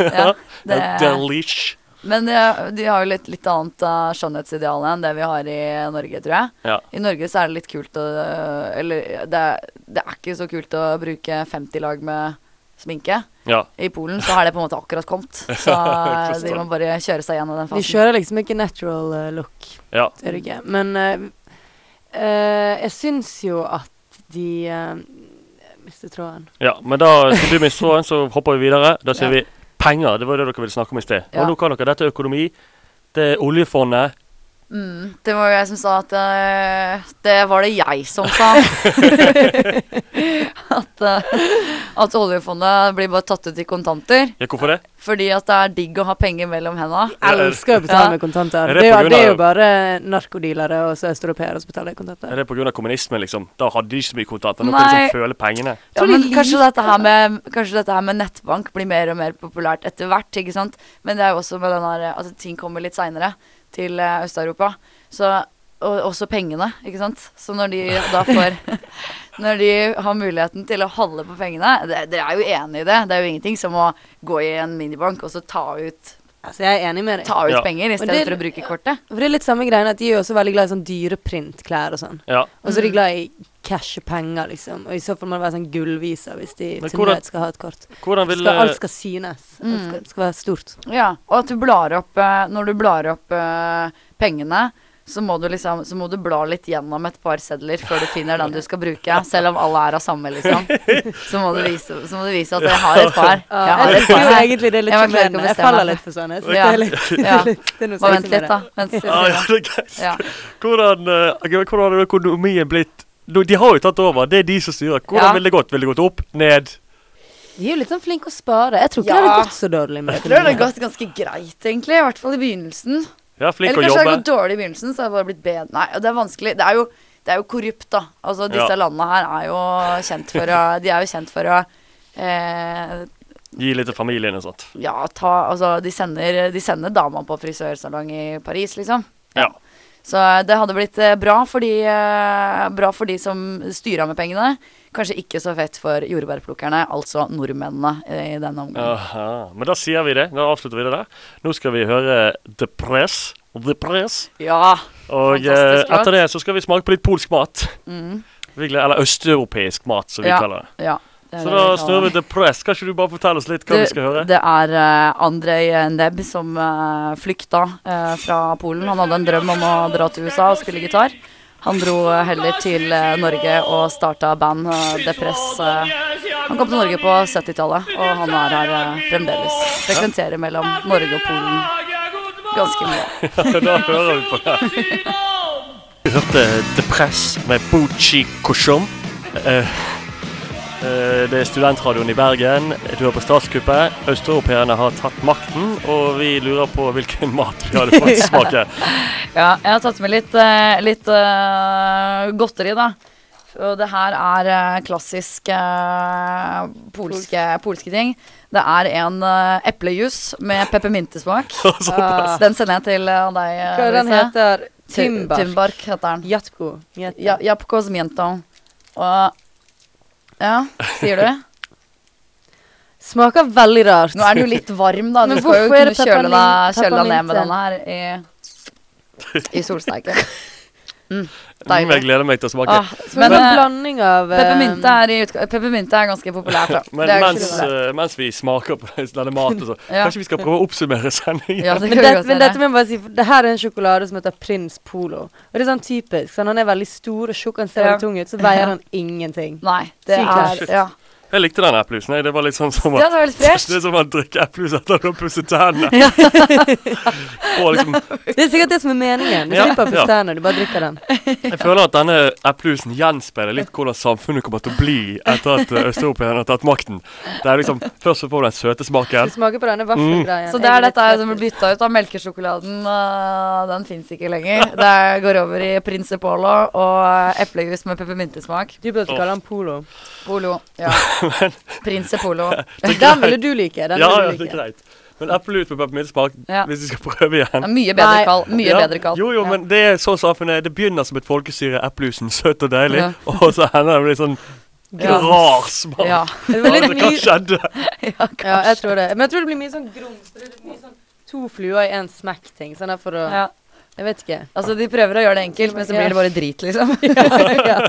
[SPEAKER 3] Ja, det,
[SPEAKER 1] Delish.
[SPEAKER 3] men eh, de har jo litt, litt annet av skjønnhetsidealet enn det vi har i Norge, tror jeg.
[SPEAKER 1] Ja.
[SPEAKER 3] I Norge så er det litt kult å Eller det er, det er ikke så kult å bruke 50 lag med sminke.
[SPEAKER 1] ja.
[SPEAKER 3] I Polen så har det på en måte akkurat kommet, så eh,
[SPEAKER 1] Jeg forstår.
[SPEAKER 3] de må bare kjøre seg gjennom den
[SPEAKER 2] De
[SPEAKER 3] fasen.
[SPEAKER 2] kjører liksom ikke natural eh, look.
[SPEAKER 1] Ja.
[SPEAKER 2] Det gjør de ikke. Men eh, eh, jeg syns jo at de eh, jeg Mistet tråden.
[SPEAKER 1] ja. Men da skal du miste tråden, så hopper vi videre. Da sier
[SPEAKER 3] Ja.
[SPEAKER 1] vi penger. Det var det dere ville snakke om i sted.
[SPEAKER 3] Ja.
[SPEAKER 1] Og nå kan dere dette er økonomi. Det er oljefondet.
[SPEAKER 3] Det var jo jeg som sa at eh, Det var det jeg som sa. at, eh, at oljefondet blir bare tatt ut i kontanter.
[SPEAKER 1] Ja, hvorfor det?
[SPEAKER 3] Fordi at det er digg å ha penger mellom henda.
[SPEAKER 1] er-
[SPEAKER 2] Elsker å betale
[SPEAKER 3] Ja.
[SPEAKER 2] med kontanter.
[SPEAKER 1] Er
[SPEAKER 2] Det
[SPEAKER 1] det
[SPEAKER 2] er,
[SPEAKER 1] på
[SPEAKER 2] jo,
[SPEAKER 1] grunn
[SPEAKER 2] det er jo
[SPEAKER 1] av-
[SPEAKER 2] bare narkodealere og så østeuropeere som betaler i kontanter.
[SPEAKER 1] Er det pga. kommunismen, liksom? Da hadde de ikke så mye kontanter. Nå kan de
[SPEAKER 3] Nei.
[SPEAKER 1] liksom føle pengene.
[SPEAKER 3] Ja,
[SPEAKER 2] Tror de
[SPEAKER 3] men kanskje
[SPEAKER 2] liker
[SPEAKER 3] dette, her med, kanskje dette her med nettbank blir mer og mer populært etter hvert. ikke sant? Men det er jo også med den her, eh, at ting kommer litt seinere til eh, Øst-Europa. Så, og også pengene, ikke sant. Så når de da får Når de har muligheten til å holde på pengene det- Dere er jo enig i det. Det er jo ingenting som å gå i en minibank og så ta ut,
[SPEAKER 2] Altså, jeg er enig med deg.
[SPEAKER 3] ta ut
[SPEAKER 1] Ja.
[SPEAKER 3] penger i
[SPEAKER 2] Men
[SPEAKER 3] stedet
[SPEAKER 2] det-
[SPEAKER 3] for å bruke kortet.
[SPEAKER 2] For det er litt samme greien at de er jo også veldig glad i sånn dyreprintklær og sånn.
[SPEAKER 1] Ja.
[SPEAKER 2] Og
[SPEAKER 3] Mm.
[SPEAKER 2] så er de glad i cash og penger, liksom. Og i så fall må det være sånn gullviser hvis de
[SPEAKER 1] Men
[SPEAKER 2] til
[SPEAKER 1] hvordan-
[SPEAKER 2] nød skal ha et kort.
[SPEAKER 1] Hvordan vil eh,
[SPEAKER 2] Skal, alt skal synes. Alt
[SPEAKER 3] Mm.
[SPEAKER 2] skal, det skal være stort.
[SPEAKER 3] Ja, og at du blar opp eh, Når du blar opp eh, pengene, så må, du liksom, så må du bla litt gjennom et par sedler før du finner den du skal bruke. Selv om alle er av samme, liksom. Så må du vise, så må du vise at jeg har et par. Ah, Jeg
[SPEAKER 2] Ja,
[SPEAKER 3] har
[SPEAKER 2] jeg
[SPEAKER 3] et
[SPEAKER 2] tror
[SPEAKER 3] par her.
[SPEAKER 2] egentlig det er litt
[SPEAKER 3] Jeg var klar til å
[SPEAKER 2] sjarmerende. Jeg
[SPEAKER 3] bestemme
[SPEAKER 2] faller
[SPEAKER 3] meg.
[SPEAKER 2] litt for sånne. Så
[SPEAKER 3] Ja.
[SPEAKER 2] det er litt, det
[SPEAKER 3] Ja.
[SPEAKER 2] er litt, det er sånn noe
[SPEAKER 3] Bare
[SPEAKER 2] sexy
[SPEAKER 3] vent
[SPEAKER 2] med
[SPEAKER 3] litt, da.
[SPEAKER 2] det.
[SPEAKER 3] Vent litt.
[SPEAKER 1] Ah, ja, ja, det er greit.
[SPEAKER 3] Ja.
[SPEAKER 1] Hvordan, eh, hvordan har økonomien blitt Nå, De har jo tatt over, det er de som styrer. Hvordan
[SPEAKER 3] Ja.
[SPEAKER 1] ville det gått? Ville det gått opp? Ned?
[SPEAKER 2] De er jo litt sånn flinke å spare. Jeg tror ikke
[SPEAKER 3] Ja.
[SPEAKER 2] det hadde gått så dårlig med
[SPEAKER 3] Jeg tror det
[SPEAKER 2] økonomien.
[SPEAKER 3] har gått ganske greit, egentlig. I hvert fall i begynnelsen.
[SPEAKER 1] Ja, flink å
[SPEAKER 3] Eller kanskje det
[SPEAKER 1] jobbe.
[SPEAKER 3] har gått dårlig i begynnelsen, så har det bare blitt bedre. Nei, og det er vanskelig. Det er jo, det er jo korrupt, da. Altså, disse
[SPEAKER 1] Ja.
[SPEAKER 3] landene her er jo kjent for å De er jo kjent for å eh,
[SPEAKER 1] Gi litt til familien og sånt.
[SPEAKER 3] Ja, ta Altså, de sender, de sender dama på frisørsalong i Paris, liksom.
[SPEAKER 1] Ja.
[SPEAKER 3] Så det hadde blitt eh, bra for de, eh, bra for de som styra med pengene. Kanskje ikke så fett for jordbærplukkerne, altså nordmennene, eh, i denne omgangen.
[SPEAKER 1] Aha. Men da sier vi det. Da avslutter vi det der. Nå skal vi høre The Press. The Press.
[SPEAKER 3] Ja.
[SPEAKER 1] Og eh,
[SPEAKER 3] Fantastisk låt. Mm.
[SPEAKER 1] etter det så skal vi smake på litt polsk mat. Vi gleder- Eller østeuropeisk mat, som vi
[SPEAKER 3] ja,
[SPEAKER 1] kaller det.
[SPEAKER 3] ja. Det er
[SPEAKER 1] Så
[SPEAKER 3] det
[SPEAKER 1] da
[SPEAKER 3] vi kaller
[SPEAKER 1] snurrer
[SPEAKER 3] det.
[SPEAKER 1] vi The Press. Kan ikke du bare fortelle oss litt hva vi skal høre?
[SPEAKER 3] Det er eh, Andrej Nebb som eh, flykta eh, fra Polen. Han hadde en drøm om å dra til USA og spille gitar. Han dro eh, heller til eh, Norge og starta band eh, Depress. eh. han kom til Norge på 70-tallet, og han er her eh, fremdeles. Frekventerer mellom Norge og Polen ganske mye.
[SPEAKER 1] da hører vi på det. Du hørte The Press med Bucci Koshom. eh, det er studentradioen i Bergen. Du er på statskuppet. Østeuropeerne har tatt makten, og vi lurer på hvilken mat vi hadde fått smake.
[SPEAKER 3] Ja, jeg har tatt med litt, eh, litt eh, godteri, da. Og det her er eh, klassisk eh, polske, polske ting. Det er en eh, eplejus med peppermyntesmak.
[SPEAKER 2] Ah.
[SPEAKER 3] Den sender jeg til eh, deg. eh,
[SPEAKER 2] Hva er den
[SPEAKER 3] Louise.
[SPEAKER 2] heter?
[SPEAKER 3] Ty-
[SPEAKER 2] Timbark.
[SPEAKER 3] Tymbark heter den.
[SPEAKER 2] Jatko. Jatko.
[SPEAKER 3] Ja, Japko Zmiento. Og Ja, sier du?
[SPEAKER 2] Smaker veldig rart.
[SPEAKER 3] Nå er den jo litt varm, da. Du
[SPEAKER 2] Men
[SPEAKER 3] skal jo
[SPEAKER 2] hvorfor er
[SPEAKER 3] kunne
[SPEAKER 2] det
[SPEAKER 3] kjøle deg,
[SPEAKER 2] peppermint-
[SPEAKER 3] kjøle deg ned med denne
[SPEAKER 2] pepperminte?
[SPEAKER 3] her i, i solsteike.
[SPEAKER 1] Mm, Jeg gleder meg til å smake.
[SPEAKER 3] Ah,
[SPEAKER 2] Men,
[SPEAKER 3] men,
[SPEAKER 2] en
[SPEAKER 3] eh,
[SPEAKER 2] blanding av eh,
[SPEAKER 3] Peppermynte er, i utga- peppermynte er ganske populært, da.
[SPEAKER 1] Men
[SPEAKER 3] Det er jo ikke
[SPEAKER 1] mens,
[SPEAKER 3] så populært.
[SPEAKER 1] eh, mens vi smaker på denne maten, så
[SPEAKER 3] Ja.
[SPEAKER 1] kanskje vi skal prøve å oppsummere sendingen?
[SPEAKER 3] ja, det
[SPEAKER 2] Men,
[SPEAKER 3] Altså, kan vi
[SPEAKER 2] det,
[SPEAKER 3] godt
[SPEAKER 2] men
[SPEAKER 3] gjøre.
[SPEAKER 2] dette må jeg bare si, for det her er en sjokolade som heter Prins Polo. Og det er sånn typisk. Sånn, han er veldig stor og tjukk, han ser
[SPEAKER 3] Ja.
[SPEAKER 2] veldig tung ut, så veier han ingenting.
[SPEAKER 3] Nei,
[SPEAKER 2] Sykt
[SPEAKER 3] det er
[SPEAKER 2] klart.
[SPEAKER 3] ja.
[SPEAKER 1] Jeg likte den eplusen. jeg. Det var litt sånn som
[SPEAKER 3] Det var veldig fresht.
[SPEAKER 1] Det er som å drikke eplejus etter å pusse tennene.
[SPEAKER 2] Ja.
[SPEAKER 1] Og liksom,
[SPEAKER 2] Det er sikkert det som er meningen. Du
[SPEAKER 1] Ja,
[SPEAKER 2] slipper å pusse
[SPEAKER 1] ja.
[SPEAKER 2] tennene, du bare drikker den.
[SPEAKER 1] jeg føler at denne eplejusen gjenspeiler litt hvordan samfunnet kommer til å bli etter at eh, østeuropeerne har tatt makten. Det er liksom, Først så får du den søte
[SPEAKER 2] Du
[SPEAKER 1] smaken.
[SPEAKER 2] smaker på denne
[SPEAKER 1] Mm.
[SPEAKER 2] vaffelgreien.
[SPEAKER 3] Så det er dette her som blir bytta ut av melkesjokoladen. øh, den fins ikke lenger. Det er- går over i Prince Polo og øh, eplejus med peppermyntesmak.
[SPEAKER 2] Du burde kalle den Polo.
[SPEAKER 3] Polo. Ja. Prince Polo.
[SPEAKER 2] Den ville du like. Den
[SPEAKER 1] Ja, ja,
[SPEAKER 2] ville du
[SPEAKER 1] det er greit.
[SPEAKER 2] like.
[SPEAKER 1] Men eplejus med peppermintsmak,
[SPEAKER 3] Ja.
[SPEAKER 1] hvis vi skal prøve
[SPEAKER 3] Det
[SPEAKER 1] igjen
[SPEAKER 3] er Mye bedre
[SPEAKER 2] Nei.
[SPEAKER 3] kall. Mye
[SPEAKER 1] Ja,
[SPEAKER 3] bedre kall.
[SPEAKER 1] Jo, jo,
[SPEAKER 3] Ja.
[SPEAKER 1] men det er sånn samfunnet er. Det begynner som et folkestyre, eplejusen søt og deilig,
[SPEAKER 3] Ja.
[SPEAKER 1] og så hender det litt sånn
[SPEAKER 3] Ja.
[SPEAKER 1] rar smak.
[SPEAKER 3] ja.
[SPEAKER 2] Det var litt
[SPEAKER 1] Hva
[SPEAKER 2] mye
[SPEAKER 1] skjedde?
[SPEAKER 2] Ja, jeg tror det. Men jeg tror det blir mye sånn grums. Det blir mye sånn to fluer i én smekk-ting. Sånn der for å
[SPEAKER 3] ja.
[SPEAKER 2] Jeg vet ikke.
[SPEAKER 3] Altså, de prøver å gjøre det enkelt, men så blir det bare drit, liksom.
[SPEAKER 2] ja.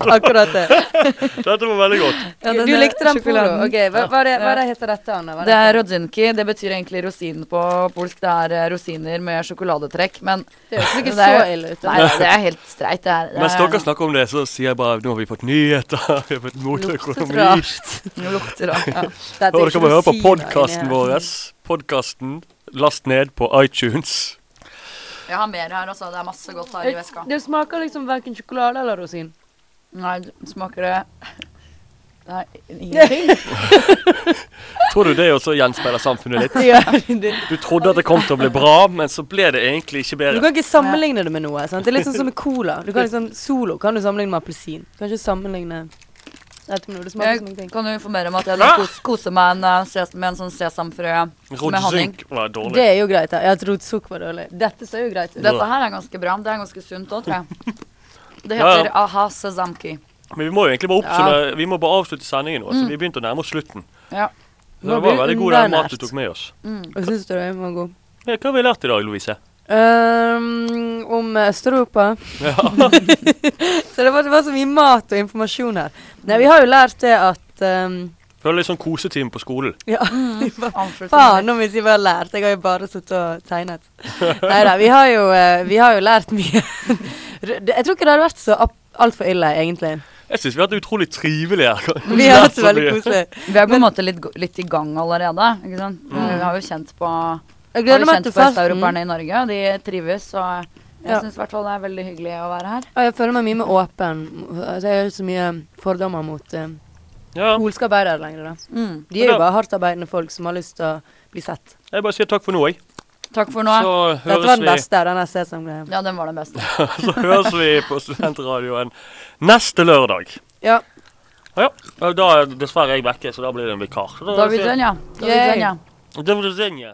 [SPEAKER 2] Akkurat det.
[SPEAKER 1] Dette var veldig godt.
[SPEAKER 3] Ja,
[SPEAKER 2] du
[SPEAKER 3] denne
[SPEAKER 2] likte den polo.
[SPEAKER 3] sjokoladen.
[SPEAKER 2] Ok, hva, hva, er det, hva er det
[SPEAKER 3] Ja.
[SPEAKER 2] heter dette, Anna? Hva
[SPEAKER 3] Det
[SPEAKER 2] heter
[SPEAKER 3] er rodzynki. Det betyr egentlig rosin på polsk. Det er eh, rosiner med sjokoladetrekk, men
[SPEAKER 2] Det høres ikke
[SPEAKER 3] Det er jo-
[SPEAKER 2] så ille ut. da.
[SPEAKER 3] Nei, nei, det er helt streit. Det er, det
[SPEAKER 1] Mens
[SPEAKER 3] er-
[SPEAKER 1] dere snakker om det, så sier jeg bare nå har vi fått nyheter. Vi har fått motøkonomi.
[SPEAKER 2] Rart.
[SPEAKER 3] Det lukter rart. Ja.
[SPEAKER 2] Dette er
[SPEAKER 1] Og
[SPEAKER 2] ikke
[SPEAKER 1] dere må høre på
[SPEAKER 2] rosiner
[SPEAKER 1] podkasten
[SPEAKER 2] inni her.
[SPEAKER 1] vår. Podkasten last ned på iTunes.
[SPEAKER 3] Jeg har mer her, altså. Det er masse godt her i veska.
[SPEAKER 2] Det smaker liksom verken sjokolade eller rosin.
[SPEAKER 3] Nei, smaker det Nei, ingenting.
[SPEAKER 1] Tror du det også gjenspeiler samfunnet litt?
[SPEAKER 2] Det gjør det.
[SPEAKER 1] Du trodde at det kom til å bli bra, men så ble det egentlig ikke
[SPEAKER 2] Du
[SPEAKER 1] bedre.
[SPEAKER 2] kan ikke sammenligne det med noe. Sant? Det er litt sånn som med cola. Du kan liksom, solo kan du sammenligne med appelsin. Du kan ikke sammenligne dette med noe. Det smaker som
[SPEAKER 3] Jeg
[SPEAKER 2] ingenting.
[SPEAKER 3] kan jo informere om at jeg kos, koser meg en, eh, ses- med en sånn sesamfrø med honning.
[SPEAKER 1] Rodzynk var
[SPEAKER 2] Det
[SPEAKER 1] dårlig.
[SPEAKER 2] er jo greit. da. Jeg trodde sukk var dårlig. Dette ser jo greit ut.
[SPEAKER 3] Dette her er ganske bra. Det er ganske sunt òg, tror jeg. Det
[SPEAKER 1] Ja, ja.
[SPEAKER 3] heter aha sezamki.
[SPEAKER 1] Men vi må jo egentlig bare oppsummere. Vi må bare avslutte sendingen nå. Så vi begynte å nærme oss slutten.
[SPEAKER 3] Ja.
[SPEAKER 1] Så
[SPEAKER 2] Mm. Nå
[SPEAKER 1] det
[SPEAKER 2] blir
[SPEAKER 1] var
[SPEAKER 2] det
[SPEAKER 1] veldig god den
[SPEAKER 2] underernært.
[SPEAKER 1] maten du tok med oss.
[SPEAKER 2] Hva syns du det var god?
[SPEAKER 1] Ja, Hva har vi lært i dag, Louise?
[SPEAKER 2] Ehm, om Øst-Europa. så det var, det var så mye mat og informasjon her. Nei, vi har jo lært det at ehm,
[SPEAKER 1] Føler litt sånn kosetime på skolen.
[SPEAKER 2] Ja,
[SPEAKER 3] Avslutter
[SPEAKER 2] faen
[SPEAKER 3] med-
[SPEAKER 2] nå hvis jeg bare har lært. Jeg har jo bare sittet og tegnet. Nei da, vi, har jo, eh, vi har jo lært mye. Det- jeg tror ikke det hadde vært så altfor ille, egentlig.
[SPEAKER 1] Jeg syns vi har hatt det utrolig trivelig her.
[SPEAKER 2] Vi har hatt det
[SPEAKER 1] Så
[SPEAKER 2] veldig
[SPEAKER 1] mye.
[SPEAKER 2] koselig.
[SPEAKER 3] Vi er på en måte litt, go- litt i gang allerede. ikke sant?
[SPEAKER 1] Mm.
[SPEAKER 3] Vi har jo kjent på har
[SPEAKER 2] Jeg
[SPEAKER 3] jo
[SPEAKER 2] gleder meg
[SPEAKER 3] kjent
[SPEAKER 2] til
[SPEAKER 3] på
[SPEAKER 2] festen.
[SPEAKER 3] østeuropeerne i Norge, og de trives. Og jeg
[SPEAKER 2] Ja.
[SPEAKER 3] synes syns i hvert fall det er veldig hyggelig å være her.
[SPEAKER 2] Og jeg føler meg mye mer åpen. Altså, jeg har ikke så mye fordommer mot eh,
[SPEAKER 1] Ja,
[SPEAKER 2] polske arbeidere lenger. da.
[SPEAKER 3] Mm.
[SPEAKER 2] De er
[SPEAKER 1] Men da-
[SPEAKER 2] jo bare hardtarbeidende folk som har lyst til å bli sett.
[SPEAKER 1] jeg bare sier takk for nå, jeg.
[SPEAKER 3] Takk for nå.
[SPEAKER 1] Så
[SPEAKER 2] Dette var
[SPEAKER 1] høres
[SPEAKER 2] den
[SPEAKER 1] vi,
[SPEAKER 2] beste, den her sesamgreia.
[SPEAKER 3] Ja, den var den beste.
[SPEAKER 1] så høres vi på Studentradioen neste lørdag.
[SPEAKER 2] Ja.
[SPEAKER 1] Ja, og da er dessverre jeg vekke, så da blir det en vikar. Så
[SPEAKER 3] Da blir den, ja. Da blir
[SPEAKER 2] Yay.
[SPEAKER 3] den, ja.
[SPEAKER 1] Da blir det den, ja.